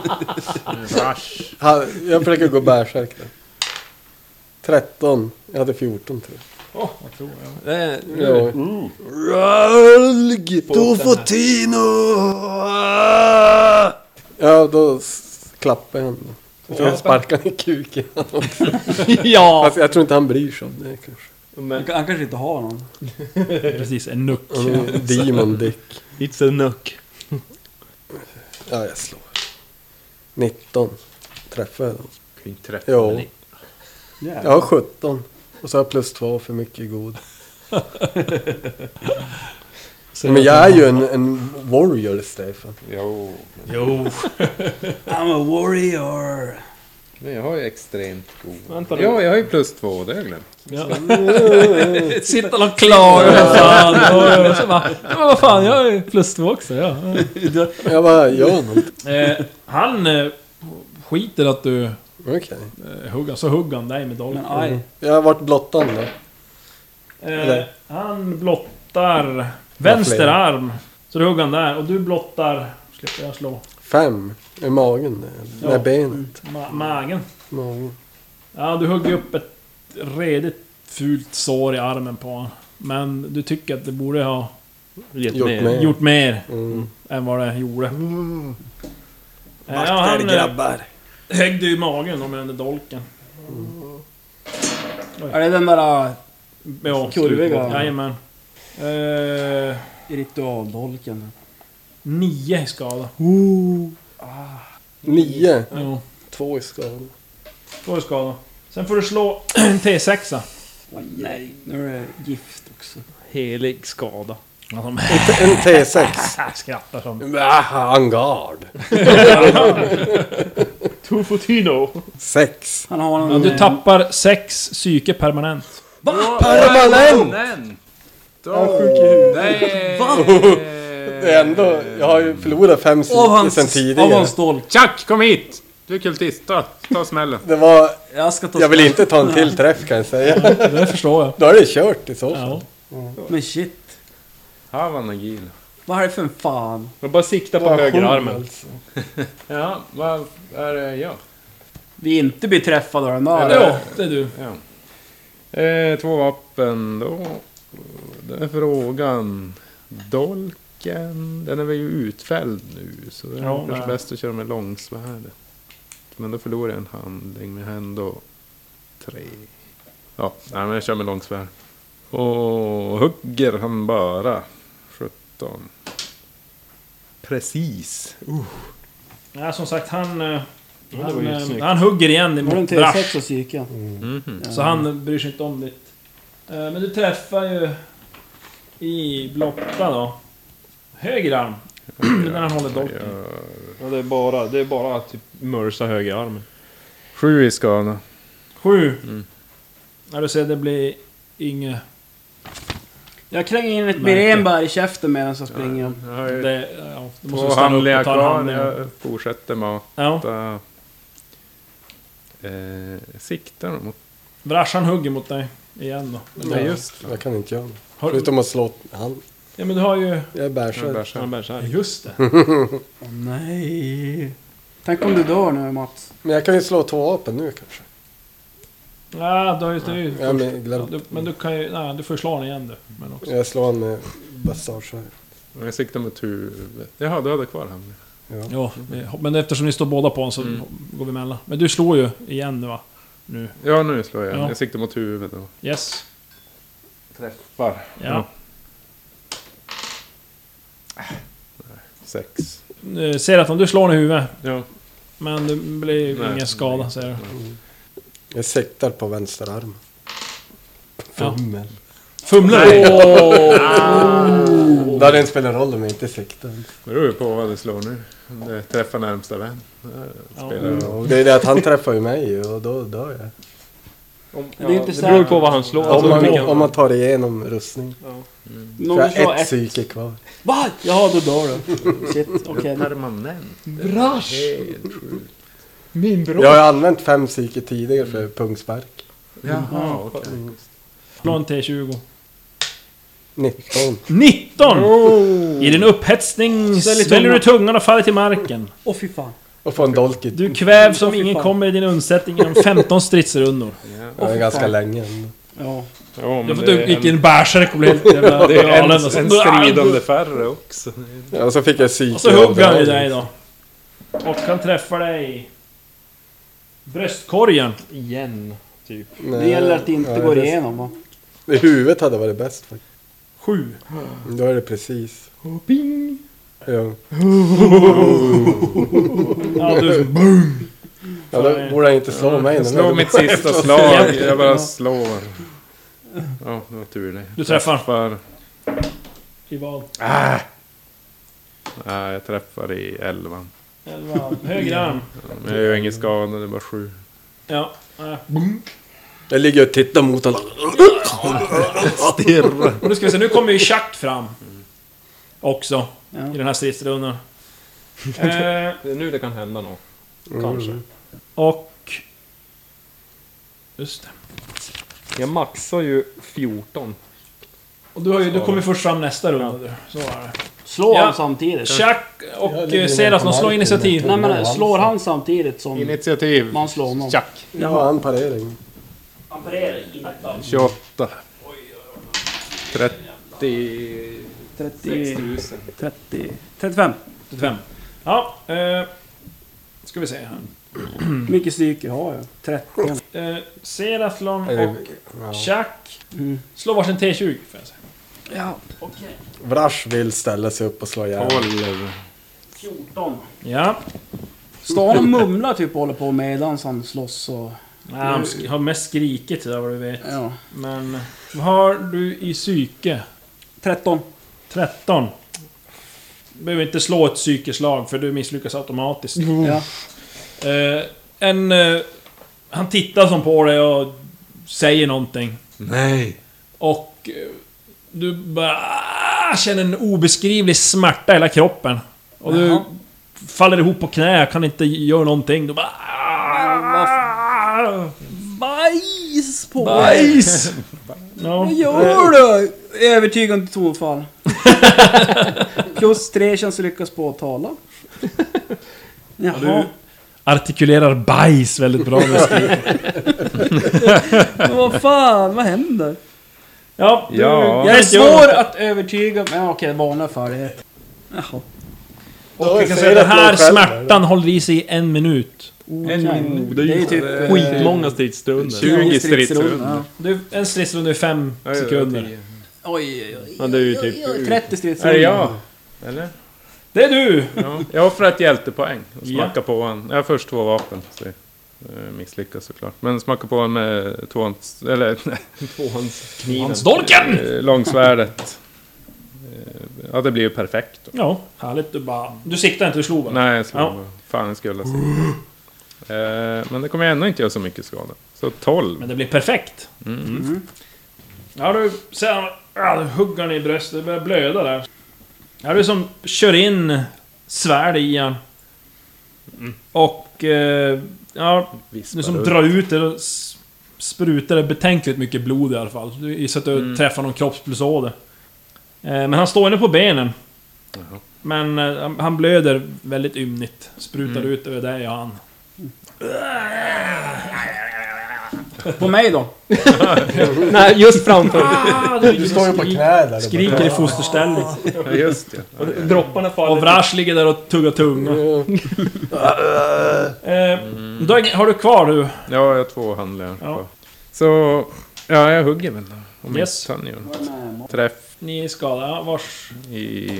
Vrash.
Han- Jag försöker gå bärsärk där. 13. Jag hade 14 tror jag. Ja.
Ralg! Tofotino!
Ja, då s- klappar jag honom. Jag tror jag sparkar honom i kuken.
Ja!
Alltså, jag tror inte han bryr sig om det kanske.
Han, han kanske inte har någon.
Precis, en nuck.
Han är demon dick.
It's a nuck.
Ja, jag slår. 19. Träffar jag då?
Kan inte träffa
Jo.
den.
Jag har 17. Och så har jag plus 2 för mycket god. Men jag är ju en, en warrior, Stefan.
Jo.
Jo.
I'm a warrior.
Men jag har ju extremt god...
Vänta nu.
Ja, jag har ju plus två, det har jag glömt.
Sitter de och klagar. Fan. Och- och så bara, Ja, men vad fan, jag är plus två också. Ja.
Jag bara gör någonting.
Eh, han eh, skiter att du
Okej.
eh, hugger, så hugger han dig med dolken.
Men aj.
Jag har varit blottande.
Eh, han blottar vänster arm. Så du hugger han där och du blottar... Slipper jag slå.
Fem. I magen. Med
Ja.
benet.
Ma magen.
Magen.
Ja, du hugger upp ett redigt fult sår i armen på honom. Men du tycker att det borde ha
Gjort med.
gjort mer
Mm.
än vad det gjorde.
Mm.
Eh, ja, han eh, högg du i magen om under dolken.
Är det den där äh,
Ja,
Kurviga.
Jajamän. Eh,
ritualdolken?
nio i skada.
Nio.
Mm.
Jo,
Två i skada.
två i skada. Sen får du slå Ah, en T6.
Åh, nej, nu är det gift också.
Helig skada.
En T6.
Ah, skrattar som...
Ah, Angard.
Tufotino!
Sex.
Han har
Ja,
någon...
du tappar sex psyke permanent.
Permanent!
Den!
Det är ändå... Jag har ju förlorat fem sidor sen
av
tidigare.
hans dolk.
Chuck, kom hit! Du är kultist, ta, ta smällen.
Det var...
Jag ska ta
Jag vill inte ta en till träff kan jag säga.
Det förstår jag.
Då är det kört i så fall.
Ja.
Men shit.
Här var Nagil.
Vad är det för en fan?
Men bara sikta på högerarmen.
Ja, vad är det jag?
Vi är inte blir träffade av den där.
Ja, det är du.
Eh, två vapen då. Det är frågan. Dolk. Spiken, den är väl ju utfälld nu. Så det är
Ja,
kanske
nej.
bäst att köra med långsvärdet. Men då förlorar jag en handling, men jag har ändå tre. Ja, nej, men jag kör med långsvärd. Och hugger han bara. 17. Precis.
Nej, som sagt, han... eh,
var
Han,
ju
eh,
snyggt.
han hugger igen
Var det en
mot
T6
Brash.
så gick jag.
Så han bryr sig inte om ditt. Eh, Men du träffar ju i blocka då. Höger arm. När han håller dolken.
Ja, det är bara, det är bara att typ mörsa höger armen.
Sju i skada.
Sju. Ja, du ser, det blir inget...
Jag kränger in ett
Märke.
Berenberg i käften medan jag springer.
Jag har
Eh,
ju
Det, ja, du måste
två
stanna upp
handlingar
och ta en
kvar.
handling.
Jag fortsätter mata.
Ja,
Eh, siktar mot...
Brash han hugger mot dig igen då.
Ja, just
Jag kan inte göra något.
Har du,
Förutom att slå han.
ja, men du har ju...
Jag är bärsärk.
det.
Han bär så
Ja,
här.
Just det.
Åh, nej. Tänk om du dör nu Mats.
Men jag kan ju slå två vapen nu kanske.
Ja, du har ju... Det är ju
Ja, men jag
ja,
glömde.
du, men du kan ju... Nej, du får slå honom igen du. Men också.
Jag slår en med bastardsvärd.
Men Jag siktar mot huvudet. Jaha, du hade kvar han.
Ja, vi- men eftersom ni står båda på honom så
Mm.
går vi emellan. Men du slår ju igen nu va?
Ja, nu slår jag.
Ja.
Jag siktar mot huvudet. Då.
Yes.
Träffar.
Ja.
Sex.
Eh, Ser att om du slår honom i huvudet,
Ja.
men det blir ju
Nej.
ingen skada ser du.
Jag siktar på vänster arm.
Ja.
Fummel.
Fumlar du? Ah.
Där det inte spelar roll om jag inte siktar.
Det beror ju på vad du slår nu. Om det träffar närmsta vän. Det spelar
Ja.
roll.
Och det är det att han träffar ju mig och då dör jag.
det är inte
Det beror ju på
säkert.
vad han slår.
Om
Alltså,
man,
vilken-
om man tar igenom rustning.
Någon
För jag
slår
har ett
ett.
psyke kvar.
Va? Jaha, då dör du. Shit, okej.
Permanent.
Brash!
Helt sjukt.
Min bror!
Jag har ju använt fem psyke tidigare för pungspark.
Jaha, okej.
Slå en T20.
19.
19! I din upphetsning
Sväljer
sväljer du
tungan.
tungan och faller till marken.
Åh fy fan.
Och få en dolk i.
Du kvävs om
Åh, fy
ingen
fan.
kommer i din undsättning genom 15 stridsrundor.
Det var ganska länge.
Ja.
Ja,
Ja,
men
för
det
du
är
gick
en,
en bärsärk och blev helt jävla
det är en,
galen. och så-
en strid om det färre också.
Ja, och så fick jag psyke.
Och så hugger han i
överallt.
dig då. Och han träffar dig... i Bröstkorgen.
Igen, typ.
Nej.
Det gäller att det inte
Ja,
går
det-
igenom va?
I huvudet hade varit bäst faktiskt. Mm,
Sju.
Då är det precis. Ja.
Ja, du,
ja, då borde han inte slå mig.
Jag
men-
slår mitt sista slag. Jag bara slår. Ja, det var tur det.
du träffar.
För,
I vad?
nej, jag träffar i elvan.
Elva. Höger arm.
Men jag gör ingen skada, det är bara sju.
Ja. nej.
Jag ligger och tittar mot honom.
Och nu ska vi se, nu kommer ju Chuck fram. Också.
Ja.
I den här stridsrundan. Eh,
Det är nu det kan hända något. Kanske.
och... Just det.
Jag maxar ju 14.
Och du, har ju, du kommer ju först fram nästa runda. du. Så är det.
Slår
Ja.
han samtidigt?
Chuck
Jag
och
ligger
eh, Seras,
ner
de
på
slår
marken.
initiativ.
Nej men slår han samtidigt som
Initiativ.
man slår någon?
Tjack.
Ja, han parering.
28. 30...
30... 30... 35.
35. Ja, eh, ska vi se här.
mycket psyke har jag? 30.
Eh, Seraflon
Eller,
och Chuck slår varsin T20. Får jag säga.
Ja.
Vrash vill ställa sig upp och slå ihjäl.
12.
14.
Ja.
Står han och mumlar typ och håller på medans han slåss och...
Nej, han sk- har mest skrikit där vad du vet.
Ja.
Men... Vad har du i psyke?
13.
13. Du behöver inte slå ett psykeslag för du misslyckas automatiskt.
Ja.
Eh, en... Eh, han tittar som på dig och säger någonting.
Nej.
Och... eh, Du bara... ah, Känner en obeskrivlig smärta i hela kroppen. Och du faller ihop på knä, kan inte göra någonting. Du bara... ah,
Bajs på dig!
Bajs! Ja.
Vad gör du? Övertygande tonfall. Plus tre känns att lyckas påtala. Jaha,
Artikulerar bajs väldigt bra med skri-
men vad fan, vad händer?
Ja, du,
Ja.
Jag är svår att övertyga... Men okej, vanliga färdigheter. Jaha.
Ja,
Och vi
jag
kan
säger
säga den
att
här
man själv är
smärtan håller i sig i en minut.
En, det är ju typ... eh,
Skitmånga stridsstunder.
20
20
stridsrundor.
stridsstunder.
ja.
Du, en stridsrunda är fem
Ja, ja,
sekunder.
Oj, oj, oj.
Ja, det är ju typ-
oj, oj, 30
Är
stridsrundor.
det jag? Eller?
Det är du!
Ja. Jag offrar ett hjältepoäng och
Ja.
smackar på en. Jag har först två vapen. Så eh, misslyckas såklart. Men smackar på en med tvåhands... Eller
Kniven.
Dolken!
eh, långsvärdet. Eh, Ja, det blir ju perfekt då.
Ja, härligt. Du bara... Du siktade inte, du slog bara.
Nej, jag skulle...
Ja.
Fan, jag skulle ha sett. Eh, Men det kommer ändå inte göra så mycket skada. Så 12.
Men det blir perfekt. Mm. Ja du, sen ja, du hugger han i bröstet, det börjar blöda där. Ja du som kör in svärd i han. Och... Eh, ja, du som drar ut det och s- sprutar det betänkligt mycket blod i alla fall. Du gissar att du träffar någon kroppspulsåder. Eh, men han står inne på benen. Men eh, han- han blöder väldigt ymnigt. Sprutar ut över dig och han.
På mig då?
Nej, just framför.
Ah, du,
står ju på knä där.
Skriker i fosterställning.
Ja, just det.
Dropparna faller.
Och Vrash ligger där och tuggar tunga. eh, då är- har du kvar du.
Ja, jag har två handlingar
Ja.
kvar. Så... Ja, jag hugger väl då. Om
Yes.
inte han gör något. Träff.
Ni är skadade. Ja, Vars...
i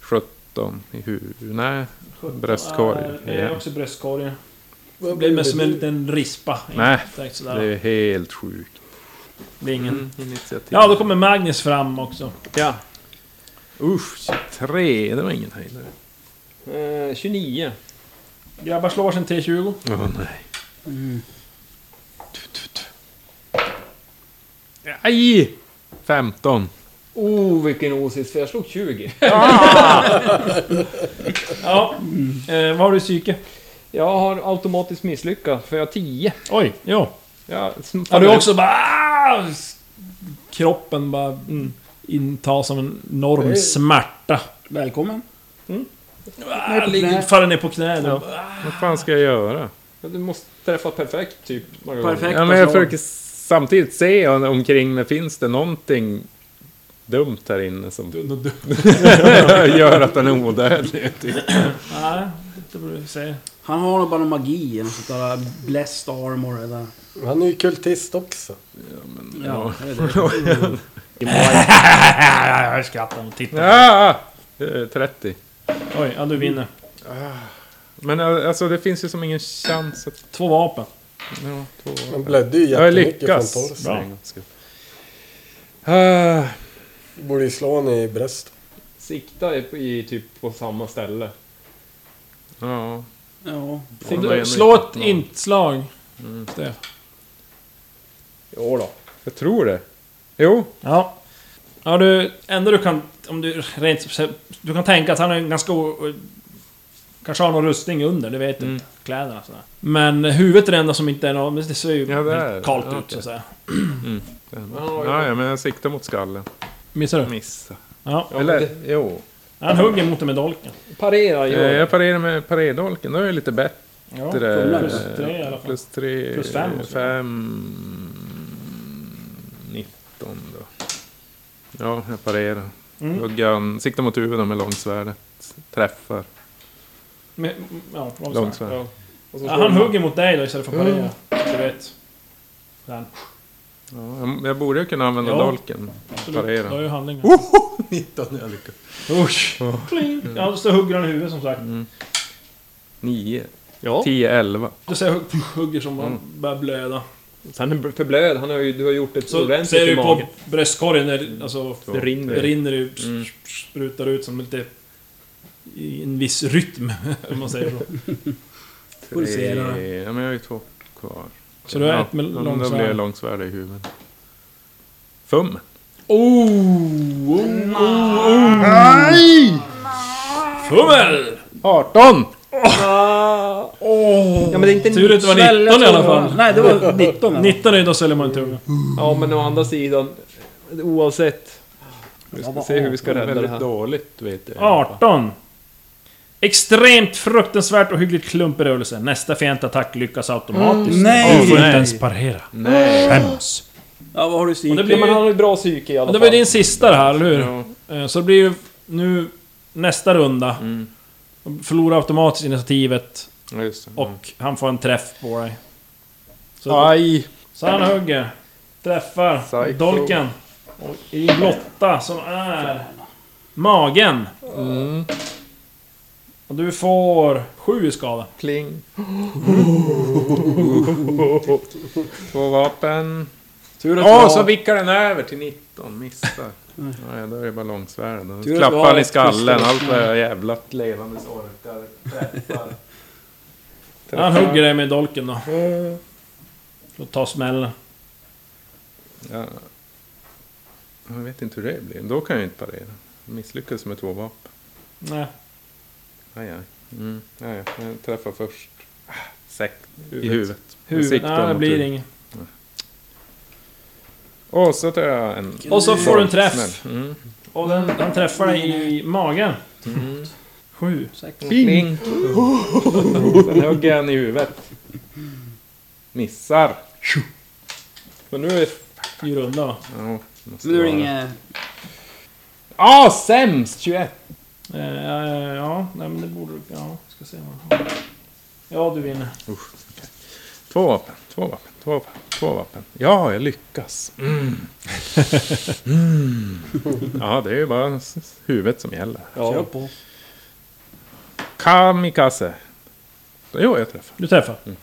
17 i huvudet. Nej, bröstkorg.
Ja, Det är också bröstkorgen. Det
Vad
blir med
blir
som en
det?
liten rispa.
Nej,
Direkt sådär.
Det är helt sjukt.
Det blir ingen...
Initiativ.
Ja, då kommer Magnus fram också.
Ja. Usch, 23. Det var ingen höjdare.
Eh, 29.
Grabbar slår varsin T20.
Åh nej. Tu, tu, tu. Aj! 15.
Oh, vilken osis, för jag slog 20.
Ja. Eh, vad har du i psyke?
Jag har automatiskt misslyckats, för jag har 10.
Oj, ja.
Jag,
Har du också bara... ah, s- Kroppen bara... Mm, intas som en enorm smärta.
Välkommen.
Ah, ligger- Faller ner på knä. Ja.
Vad fan ska jag göra?
Du måste träffa perfekt, typ. många gånger.
Perfekt. Alltså,
Ja, men jag
personal.
försöker samtidigt se om- omkring mig. Finns det någonting dumt här inne som gör att den är odödlig? Typ.
Nej, det beror du säga.
Han har nog bara någon magi eller något sånt där. Blessed armor eller...
Han är ju kultist också.
Ja, jag vet inte.
Jag skrattar och tittar.
Ah! Eh, 30.
Oj, ja, du vinner.
Men eh, alltså det finns ju som ingen chans att...
Två vapen.
Ja, två...
Han blödde ju
Jag har
jättemycket från
lyckats.
torsen.
Bra. Ah,
Borde ju slå honom i bröstet.
Sikta i, i typ på samma ställe.
ja.
Ja.
Om det är Mm. en
Slå ett
riktigt bra.
inslag.
Jo då.
Jag tror det. Jo.
Ja. Ja, du... Enda du kan... Om du rent... Du kan tänka att han är en ganska... o- Kanske har någon rustning under, det vet du
Mm.
inte. Kläderna sådär. Men huvudet är det enda som inte är något... men Det ser ju
Ja, det är-
kallt
ja,
ut
okej.
så att säga.
Ja, ja, men jag siktar mot skallen.
Missar du?
Missa.
Ja.
Mm. Eller, jo.
Han hugger mot dig med dolken.
Parera,
Eh,
gör.
Jag parerar med paredolken. Då är jag lite bättre.
Ja, plus
Eh,
tre i alla fall.
Plus tre.
Plus fem också.
Fem... 19 då. Ja, jag parerar.
Mm.
Huggan, siktar mot huvudet med långsvärdet. Träffar.
Men, ja, långsvärd.
Långsvärd.
Ja, han hugger mot dig då istället för att parera. Du vet. Där.
Ja, jag- jag borde ju kunna använda
Ja.
dolken.
Absolut.
Parera.
Du har ju handlingar.
19 jag lyckas.
Pling! Ja, så hugger han i huvudet som sagt.
Mm. 9.
Ja.
10, 11.
Du ser hugg, hugger som bara börjar blöda.
Han är förblöd. Han har ju, du har gjort ett
Så
ordentligt
ser
i
du på
magen.
bröstkorgen där alltså,
Två,
det rinner, det
tre.
rinner ju, sprutar ut som lite... I en viss rytm, om man säger så.
Pulserar.
Tre. Ja, men jag har ju två kvar.
Så du har
ja,
ett med
ja, men Då blir det
långsvärd.
långsvärd i huvudet. Fum.
Oh, Fummel!
18!
Ja, men det är inte
Tur att det var
nittsväll,
19
jag tror
i alla
det var-
fall.
Nej, det var 19. eller?
19 är ju, då säljer man en tunga.
Ja, men å andra sidan, oavsett.
Vi
Ja,
ska
vad
se hur vi ska
arton.
rädda det
Väldigt
här. dåligt, vet jag.
18. Extremt fruktansvärt och hyggligt klump i rörelsen. Nästa fientattack lyckas automatiskt.
Mm, nej!
Du får inte
Nej.
ens parera.
Nej.
Skäms.
Ja, vad har du i
Och det
psyket?
blir
Men
ju
han har ju bra psyke i alla
Men
fall.
det var ju din sista det här, eller hur?
Ja.
Eh, Så det blir ju nu nästa runda.
Mm.
Förlorar automatiskt initiativet
Ja, just det.
Mm.
och han får en träff på dig. Så,
Aj!
så han hugger. Träffar
Psycho.
dolken. Och i blotta som är magen.
Mm.
Och du får sju i skada.
Pling. Två vapen.
Tur att,
Åh,
vi
så
har,
vickar den över till 19. Missar. Nej, då är det bara långsvärden.
Tur att vi
Klappar
har
han i
ett
skallen.
pistol.
Allt vad jag jävla levande orkar. Träffar.
Han hugger dig med dolken då.
Mm.
Och tar smällen.
Ja. Jag vet inte hur det blir. Då kan jag ju inte parera. Jag misslyckades med två vapen.
Nej.
Aj, aj. Mm. aj, aj. Jag träffar först. Ah, Säck i huvudet.
Huvudet.
Siktar
Nej, det
mot
blir
huvudet.
inget.
Och så tar jag en...
Och så får du en träff.
smäll. Mm.
Och den, den träffar dig i magen. Sju.
Pling! Sen hugger han i huvudet. Missar. Men nu är det...
I runda va?
Ja, måste
nu är det
vara-
inget...
Ah, sämst! 21!
Eh, ja, ja, nej men det borde du... Ja, ska se vad han har. Ja, du vinner.
Två vapen, två vapen, två vapen, två vapen. Ja, jag lyckas. Mm. Mm. Ja, det är ju bara s- s- huvudet som gäller.
Kör på.
Kamikaze. Jo, jag träffar.
Du träffar.
Mm.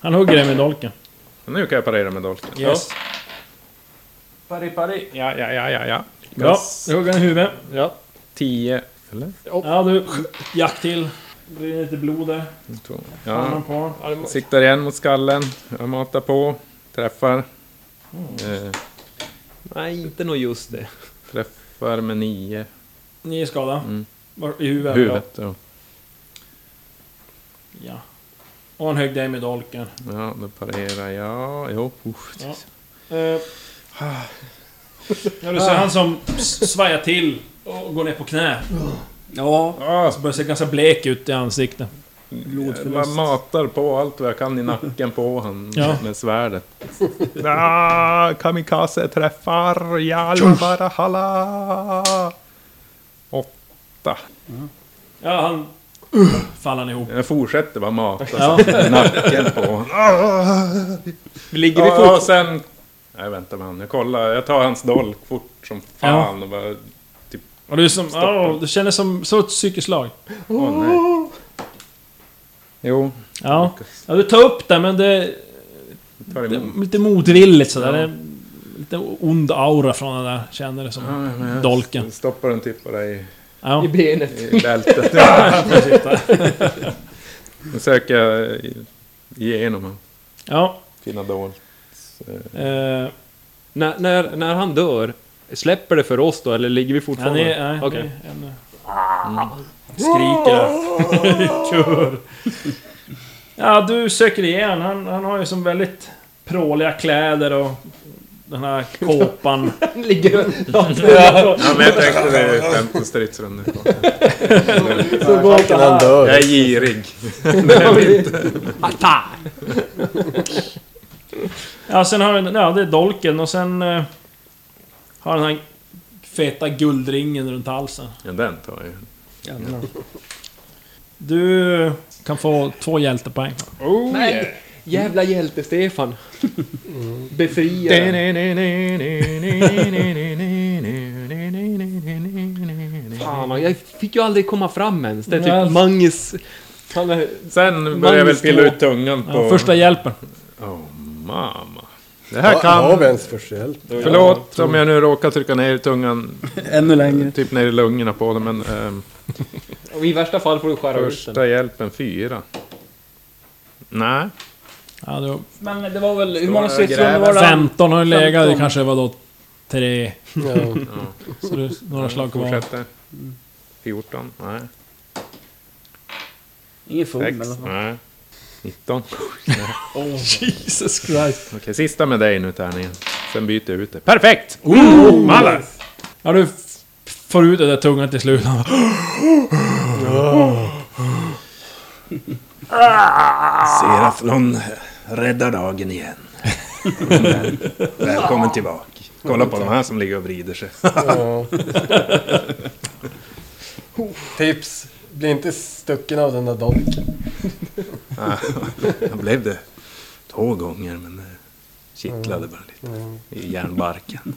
Han hugger dig med dolken.
Nu kan jag parera med dolken.
Yes.
Pari, pari. Ja, ja, ja, ja. ja.
Bra,
Lyckas.
du hugger den i huvudet.
Ja. Tio. Eller?
Ja, du... Jack till. Det blir lite blod där.
Två.
Ja.
Ja.
På.
Siktar igen mot skallen. Jag matar på. Träffar. Eh,
Nej, inte nog just det.
träffar med nio.
Nio skada.
Mm.
Var- I huvudet.
Huvudet. Ja.
Ja. Och han högg dig med dolken.
ja, då parerar jag. Jo, usch.
Ja. Eh, Ja, du ser han som s- svajar till och går ner på knä.
Ja,
Ah,
Börjar se ganska blek ut i ansiktet.
Man matar på allt vad jag kan i nacken på honom
Ja.
med svärdet. Ah, kamikaze träffar Jalvarahala! Åtta.
Ja, han... Faller han ihop.
Jag fortsätter bara mata
Ja.
med nacken på honom. Ah,
ligger vi
Ah,
ja, och
fort?
sen... Nej vänta man, jag kollar. Jag tar hans dolk fort som fan och bara...
Och du som...
Stoppar.
Oh, du känner som... Så ett psykiskt slag.
Åh nej. Jo,
Ja. ja, du tar upp det men det...
tar
det
emot.
är lite motvilligt sådär.
Ja.
Det är lite ond aura från den där, känner det
Ja,
som.
men jag
Dolken.
Stoppar den typ bara i
Ja.
benet.
i bältet. Ja, Nu söker jag igenom honom.
ja.
Fina dål.
Eh,
När, när, när han dör, släpper det för oss då eller ligger vi
han
fortfarande...
är... Nej,
Okej.
det är ännu... Skriker där. Kör. Ja, du söker igen. Han, han har ju som väldigt pråliga kläder och... Den här kåpan.
ligger
Ja, men jag tänkte det är 15 stridsrundor kvar.
Så går han dör.
Jag är girig.
Ja, sen har den, ja, det är dolken och sen... Eh, har den här feta guldringen runt halsen.
Ja, den tar jag ju.
Du kan få två hjältepoäng.
Oh.
Nej! Jävla hjälte-Stefan. Mm. Befriaren. Fan, jag fick ju aldrig komma fram ens. Det är
Nej.
typ Manges... Han är...
Sen börjar jag väl pilla ut tungan på...
Ja, första hjälpen.
Oh, mamma. Det här
Här Har
kan...
vi ens försällt?
Förlåt om jag nu råkar trycka ner tungan,
Ännu längre.
typ ner i lungorna på den, men...
Mm.
ehm,
Och I värsta fall får du skära ut den.
första hjälpen fyra. Nej.
Ja, det var
Men det var väl... Hur många
Stora
stridsrundor var det?
15 har du legat, det
15.
kanske var då tre.
Ja.
Så du, några slag kvar.
Fortsätter. 14. Nej.
Ingen fum i
6.
alla fall.
Nej. 19.
Oh, Jesus Christ.
Okej, sista med dig nu tärningen. Sen byter jag ut det. Perfekt! Mallar!
Ja, du f- får ut den där tungan till slut.
Seraflon räddar dagen igen.
Välkommen tillbaka. Kolla på de här som ligger och vrider sig.
Tips! Bli inte stucken av den där dolken.
Ah, Jag blev det två gånger men det kittlade bara lite
Mm.
i järnbarken.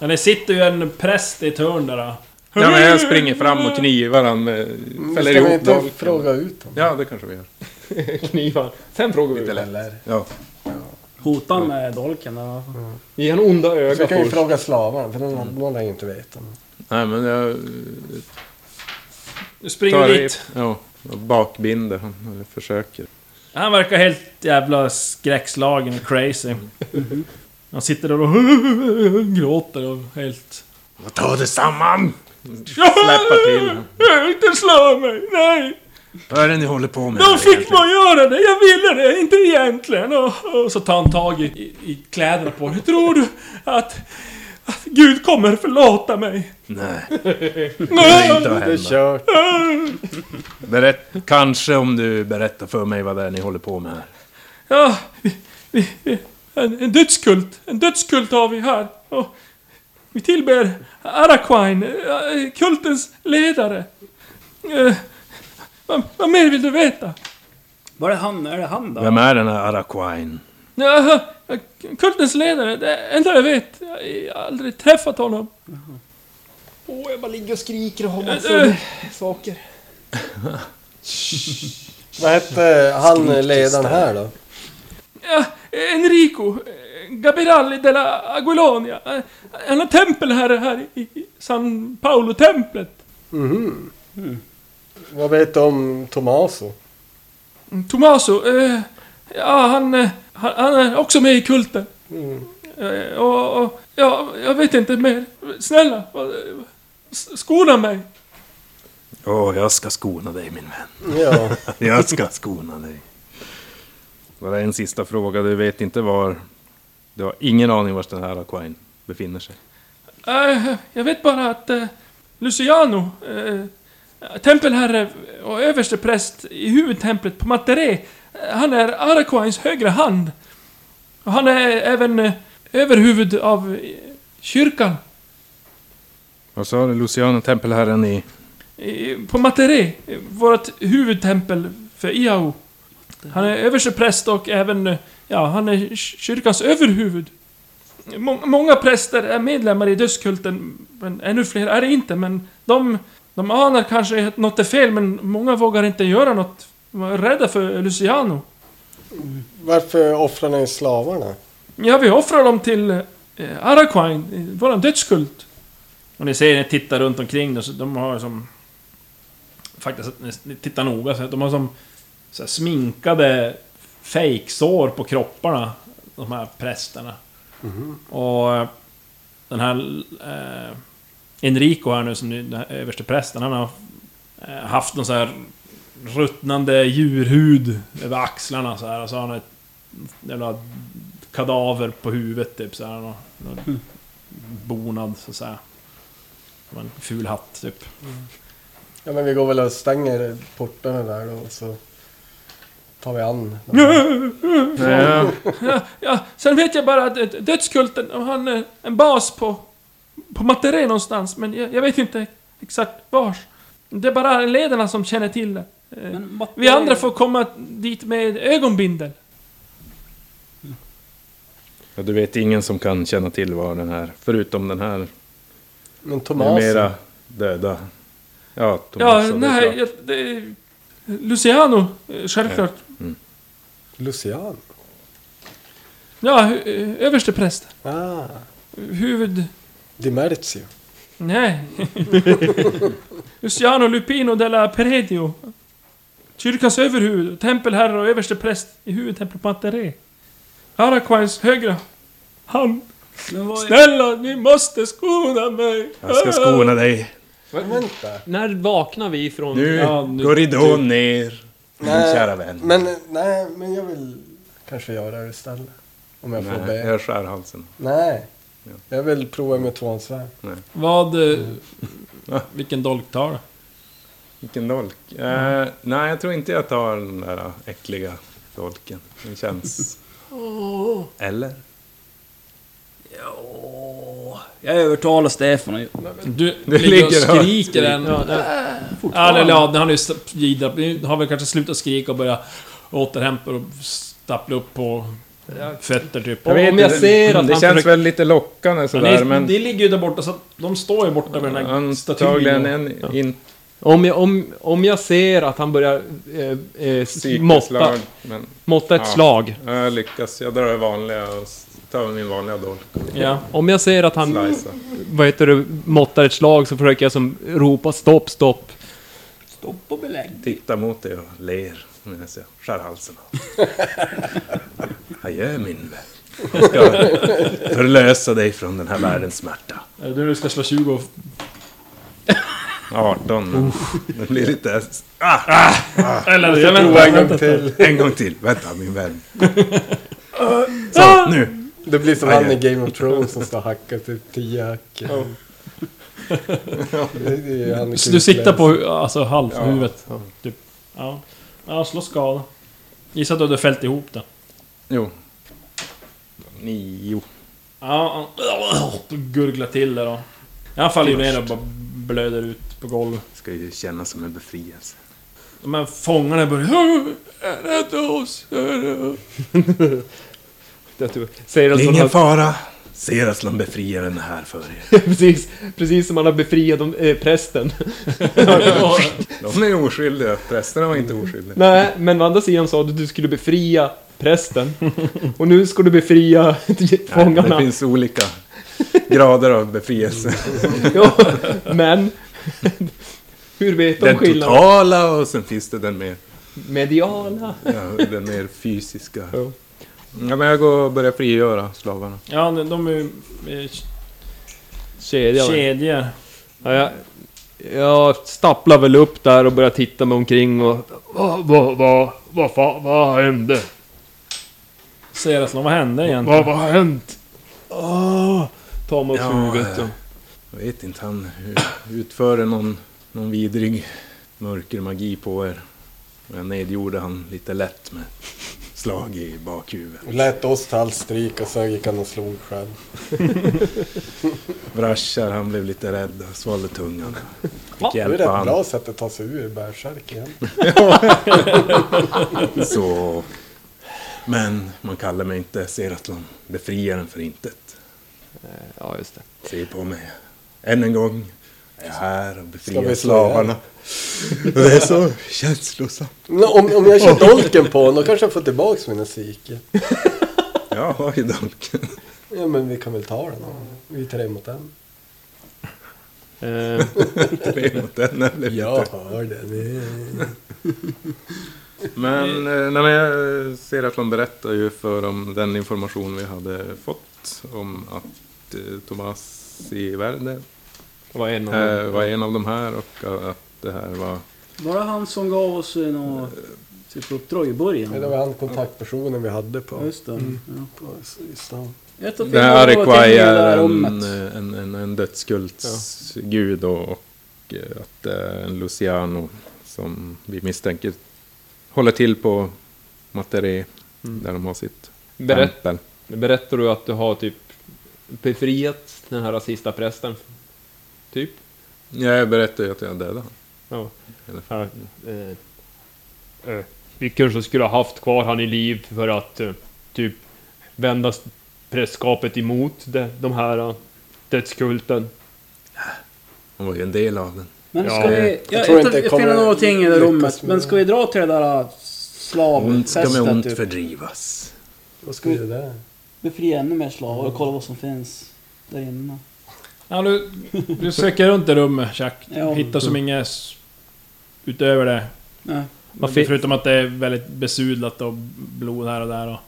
Ja, det sitter ju en präst i ett hörn där. då.
Ja, men jag springer fram och knivar han, eh, fäller
Mm, Ska vi
ihop
inte
dolken.
fråga ut honom?
Ja, det kanske vi gör.
Knivar. Sen frågar vi.
Lite lätt.
Eller?
Ja.
Hota med dolken eller vad?
Ge en onda
Vi
öga
kan ju
först.
fråga slavarna, för
Mm.
de de lär ju inte veta.
Nej, men jag eh,
Du springer
tar...
dit.
Ja, och bakbinder han eller försöker.
Han verkar helt jävla skräckslagen och crazy. Han sitter där och gråter och helt...
Ta det samman! Släppa till honom.
Inte slå mig! Nej!
Vad är det ni håller på med? här
De fick
egentligen?
mig göra det! Jag ville det! Inte egentligen! Och, och så tar han tag i, i, i kläderna på Hur Tror du att... Att Gud kommer förlåta mig?
Nej, det är
Nej!
inte att
Det är
hända.
kört.
Berätt, kanske om du berättar för mig vad det är ni håller på med här.
Ja, vi, vi, vi, en, en dödskult. En dödskult har vi här. Och vi tillber Araquine, eh, kultens ledare. Eh, vad, vad mer vill du veta?
Var är han? Är det han då?
Vem är den här Araquine?
Jaha, kultens ledare, det enda jag vet. Jag har aldrig träffat honom.
Åh, jag bara ligger och skriker och har
Eh,
massa saker.
Vad hette han ledaren här då?
Ja, Enrico eh, Gabiralli della Aguilonia. Eh, Han har tempelherre här i i San Paolo-templet.
Vad vet du om Tomaso?
Tommaso, eh, ja han, eh, han, han är också med i kulten.
Mm.
Eh, och, och, ja, jag vet inte mer. Snälla, vad- s- skona mig.
Åh, jag ska skona dig min vän.
Ja,
Jag ska skona dig. Bara en sista fråga. Du vet inte var... Du har ingen aning var den här Aquine befinner sig.
Eh, jag vet bara att eh, Luciano, eh, tempelherre och överste präst i huvudtemplet på Materé, eh, han är Araquines högra hand. Och han är även eh, överhuvud av eh, kyrkan
Vad sa du? Luciano, tempelherren i...
Eh, På Materé, eh, vårt huvudtempel för Iao. Han är överstepräst och även, eh, ja, han är kyr- kyrkans överhuvud. Må många präster är medlemmar i dödskulten, men ännu fler är det inte, men de, de anar kanske att något är fel, men många vågar inte göra något. De är rädda för Luciano.
varför offrar ni slavarna?
Ja, vi offrar dem till eh, Araquine, eh, våran dödskult. Och ni ser, ni tittar runt omkring då, så de har som... Faktiskt, ni- ni tittar noga, så att de har som så här, sminkade fejksår på kropparna, de här prästerna.
Mhm.
Och eh, den här eh, Enrico här nu, som ni- den här översteprästen, han har eh, haft någon så här ruttnande djurhud över axlarna så här, och så har han ett jävla kadaver på huvudet typ så här. Någon, någon bonad så att säga. Som en ful hatt typ.
Ja men vi går väl och stänger portarna där då och så tar vi an.
Ja,
Ja, sen vet jag bara att eh, dödskulten, och han är en bas på, på Materé någonstans. Men jag, jag vet inte exakt vars. Det är bara ledarna som känner till det. Eh,
Men vad-
Vi andra får komma dit med ögonbindel.
Ja, du vet ingen som kan känna till var den här... Förutom den här
Men Tomaso,
numera döda... Ja, Tomas.
Ja, nej, jag, det, Luciano, eh, självklart.
Lucian.
Ja, hu- eh, översteprästen.
Ah,
Huvud...
Di Merzio.
Nej. Luciano Lupino della Peredio. Kyrkans överhuvud, tempelherre och överstepräst i huvudtemplet Materé. Araquines högra hand.
Men vad är...
Snälla, ni måste skona mig!
Jag ska skona dig.
Vänta.
När vaknar vi från...
Nu
Ja, nu-
går ridån ner. Min
Nej,
kära vän.
Men nej, men jag vill kanske göra det istället. Om jag får
Nej,
be.
jag skär halsen.
Nej. Jag vill prova med tvåansvärd.
Vad... eh, Vilken dolk tar du?
Vilken dolk? Eh, nej, jag tror inte jag tar den där äckliga dolken. Den känns... Eller?
Åh, Jag övertalar Stefan att
Du
Det
ligger och
ligger högt.
skriker än... Ja, eller ja, han har ju st- gidrat- nu har väl kanske slutat skrika och börjat återhämta och stappla upp på fötter typ.
Jag vet
Om jag
inte,
ser att
Det känns
han försöker-
väl lite lockande
Men det,
sådär, men...
det ligger ju där borta, så att de står ju borta vid den här
Antagligen
statyn.
en, inte
Om jag, om, om jag ser att han börjar eh, eh, måtta,
psykeslag. Men
måtta ett
Ja.
slag.
jag lyckas. Jag drar det vanliga och s- tar min vanliga dolk.
Ja.
Om jag ser att han
Mm.
Slice.
vad heter det, måttar ett slag så försöker jag som ropa stopp, stopp.
Stopp och belägg.
Tittar mot dig och ler medan jag skär halsen av. Adjö min vän. Jag ska förlösa dig från den här världens smärta.
Är det nu du ska slå 20 och...
18. men Det blir lite... s- Ah,
Eller jag
Prova
väntar.
en gång till.
en gång till. Vänta min vän. Så, nu.
Det blir som
Aj,
han i
aj.
Game of Thrones som ska hacka typ tio hack. Det är ju han i
Du siktar
King's
på hu- alltså, halvt huvudet. Typ. Ja. ja, slå skada. Gissa att du hade fällt ihop det.
Jo. Nio.
Ja, han- du gurglar till det då. Han faller ju ner och bara blöder ut på golvet.
Ska ju kännas som en befrielse.
De här fångarna börjar... Rädda oss!
Jag tror- typ- Säger han som
Ingen
han,
fara. Seraslan befriaren är här för er.
precis, precis som han har befriat de, eh, prästen.
De är oskyldiga. Prästerna var inte oskyldiga.
Nej, men å andra sidan sa du att du skulle befria prästen. Och nu ska du befria
Det
fångarna.
finns olika grader av befrielse.
Ja, men... Hur vet de
Den
skillnaden?
totala och sen finns det den mer,
Mediala.
ja, den mer fysiska.
Ja.
Ja, men jag går och börjar frigöra slavarna.
Ja, de de är ju... eh,
Kedja. va?
Kedjor.
Ja, jag, jag stapplar väl upp där och börjar titta mig omkring och... Vad, vad, vad, vad fan, vad hände?
Seraslan, vad hände egentligen? Ah!
Vad, vad har hänt? Åh, ta mig upp huvudet och...
Jag vet inte, han hu- utförde någon, någon vidrig mörker magi på er. Och jag nedgjorde han lite lätt med slag i bakhuvudet.
Lät oss ta all stryk och så gick han och slog själv.
Vraschar, han blev lite rädd, svalde tungan. Fick
Det är ett
hjälpa
rätt
han.
bra sätt att ta sig ur bärsärken.
Så... Men man kallar mig inte Seratlon, befriaren för intet.
Ja, just det.
Se på mig. Än en gång är jag här och
Ska
befriar
vi slå igen?
slavarna. Det är så känslosamt.
Men Om, om jag kör dolken på honom, då kanske jag får tillbaks mina psyke.
Jag har ju dolken.
Ja men vi kan väl ta den då. Vi är tre mot en.
Eh,
Tre mot en. det blev
Jag
lite.
hör det.
Men, eh, nej, men jag ser att de berättar ju för om den information vi hade fått om att eh, Thomas i Värde
vad är någon?
eh, var en av de här och eh, att det här var...
Var det han som gav oss eh, något typ uppdrag i början?
Det var Mm. han kontaktpersonen vi hade
Ja,
på,
just det. Ja.
på i stan.
Jag tror att vi
Det här
var till
Arequai
i det
är
där
en,
rummet.
eh, en, en, en dödskultsgud och, och eh, att det är en Luciano som vi misstänker håller till på Materé där de har sitt
Berätt,
tempel.
berättar du att du har typ befriat den här sista prästen? Typ?
Ja, jag berättade ju att jag dödade honom.
Ja.
Eller-
Här, eh, eh, vi kanske skulle ha haft kvar han i liv för att eh, typ vända s- prästskapet emot de, de här eh, dödskulten.
Han var ju en del av den.
Men ska
Ja.
vi... Jag,
tror
jag,
inte
jag,
det
finner
kommer
någonting i det
lyckas
rummet.
med-
Men ska vi dra till det där
Ont ska med
slavfesten
ont
typ?
fördrivas.
Vad ska vi göra där?
Befria ännu mer slavar och kolla vad som finns där inne.
Ja, du, du söker runt i rummet, Jack.
Ja.
Hittar som inget... s- Utöver det.
Nej.
Man fi-
Förutom att det är väldigt besudlat och blod här och där och...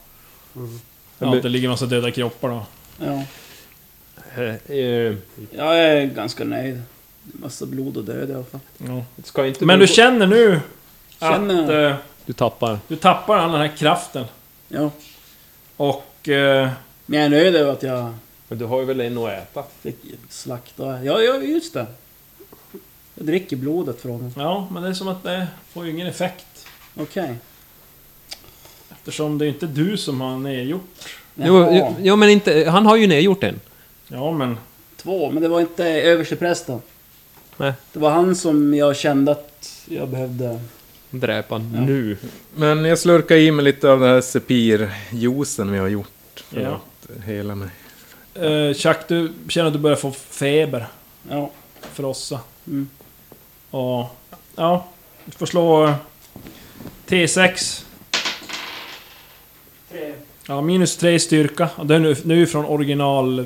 Mm.
Ja, att det ligger massa döda kroppar då.
Ja.
eh, eh,
Jag är ganska nöjd. Massa blod och död i alla fall.
Ja.
ska inte
Men du känner nu att
Känner-
eh,
Du tappar.
du tappar all den här kraften.
Ja.
Och... Eh,
Men jag är nöjd över att jag
Men du har ju väl en att äta?
fick slakta. Ja, ja just det. Jag dricker blodet från honom.
ja, men det är som att det får ju ingen effekt.
Okej.
Eftersom det är inte du som har nedgjort.
Jaha.
ja, men inte, han har ju nedgjort en.
Ja, men...
två, men det var inte översteprästen.
Nej.
Det var han som jag kände att jag behövde...
Dräpa
Ja.
nu.
Men jag slurkar i mig lite av den här sepirjuicen vi har gjort. För
Ja.
att hela mig.
Eh, Chuck, du känner att du börjar få feber.
Ja.
Frossa.
Mm.
Och... Ja. Du får slå... eh, T6. Ja, minus 3 styrka. Och det är nu, nu från original... eh,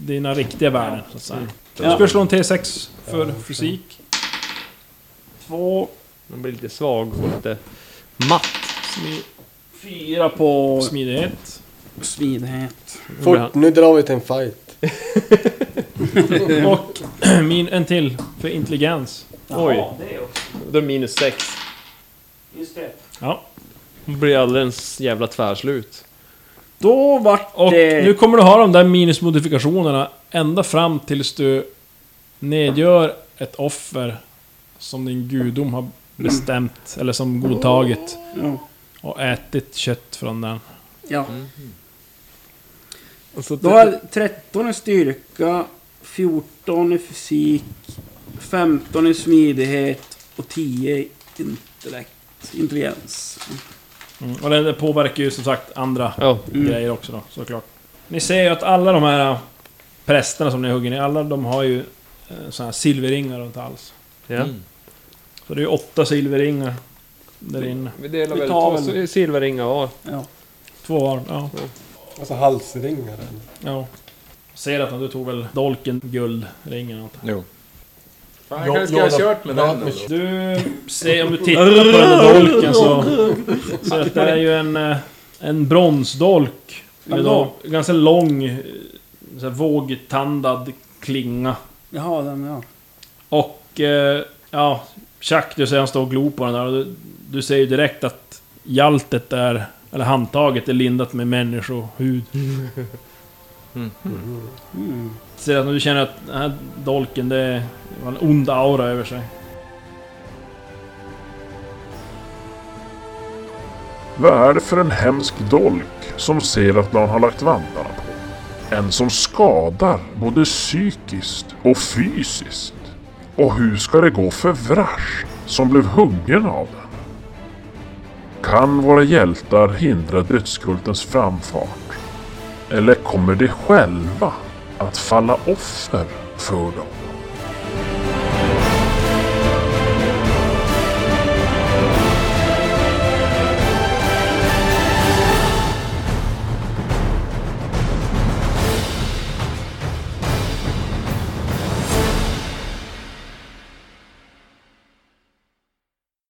Dina riktiga värden, så att säga. Du ska slå en T6 för fysik. Två...
Man blir lite svag och lite matt.
Smi,
Fyra på
smidighet.
smidighet.
Fort, nu drar vi till en fight.
Och min, en till för intelligens.
Oj. Då är det minus sex.
Ja.
Hon blir alldeles jävla tvärslut.
Då vart Och
det-
nu kommer du ha de där minusmodifikationerna ända fram tills du nedgör ett offer som din gudom har bestämt, eller som godtagit.
Ja.
Och ätit kött från den.
ja.
Alltså,
Då har jag 13 i styrka, 14 i fysik, 15 i smidighet och 10 i intellekt. Intelligens.
Mm. Och den påverkar ju som sagt andra
Ja.
grejer också då, såklart. Ni ser ju att alla de här äh, prästerna som ni hugger ner, alla de har ju sådana här silverringar runt hals.
ja.
Så det är ju åtta silverringar där inne.
Vi delar
Vi
väl
tar
två
väl-
si- silverringar var.
Ja.
Två var, ja.
Alltså halsringar. eller?
Ja. Ser att du tog väl dolken, guldringen och allt.
Jo. Fan,
Jo-
jag kanske ska ha
Jonathan-
kört med den ändå.
Du ser, om du tittar på den där dolken så... Så att det är ju en, eh, en bronsdolk. Med då, ganska lång, eh, så här vågtandad klinga.
Jaha, den ja.
Och... eh, Ja, Chuck, du ser han står och glor på den där och du, du ser ju direkt att hjaltet är... Eller handtaget är lindat med människohud.
Mm.
Ser att du känner att den här dolken, det var en ond aura över sig.
Vad är det för en hemsk dolk som ser att någon har lagt vantarna på? En som skadar både psykiskt och fysiskt. Och hur ska det gå för Vrash som blev huggen av den? Kan våra hjältar hindra dödskultens framfart? Eller kommer de själva att falla offer för dem?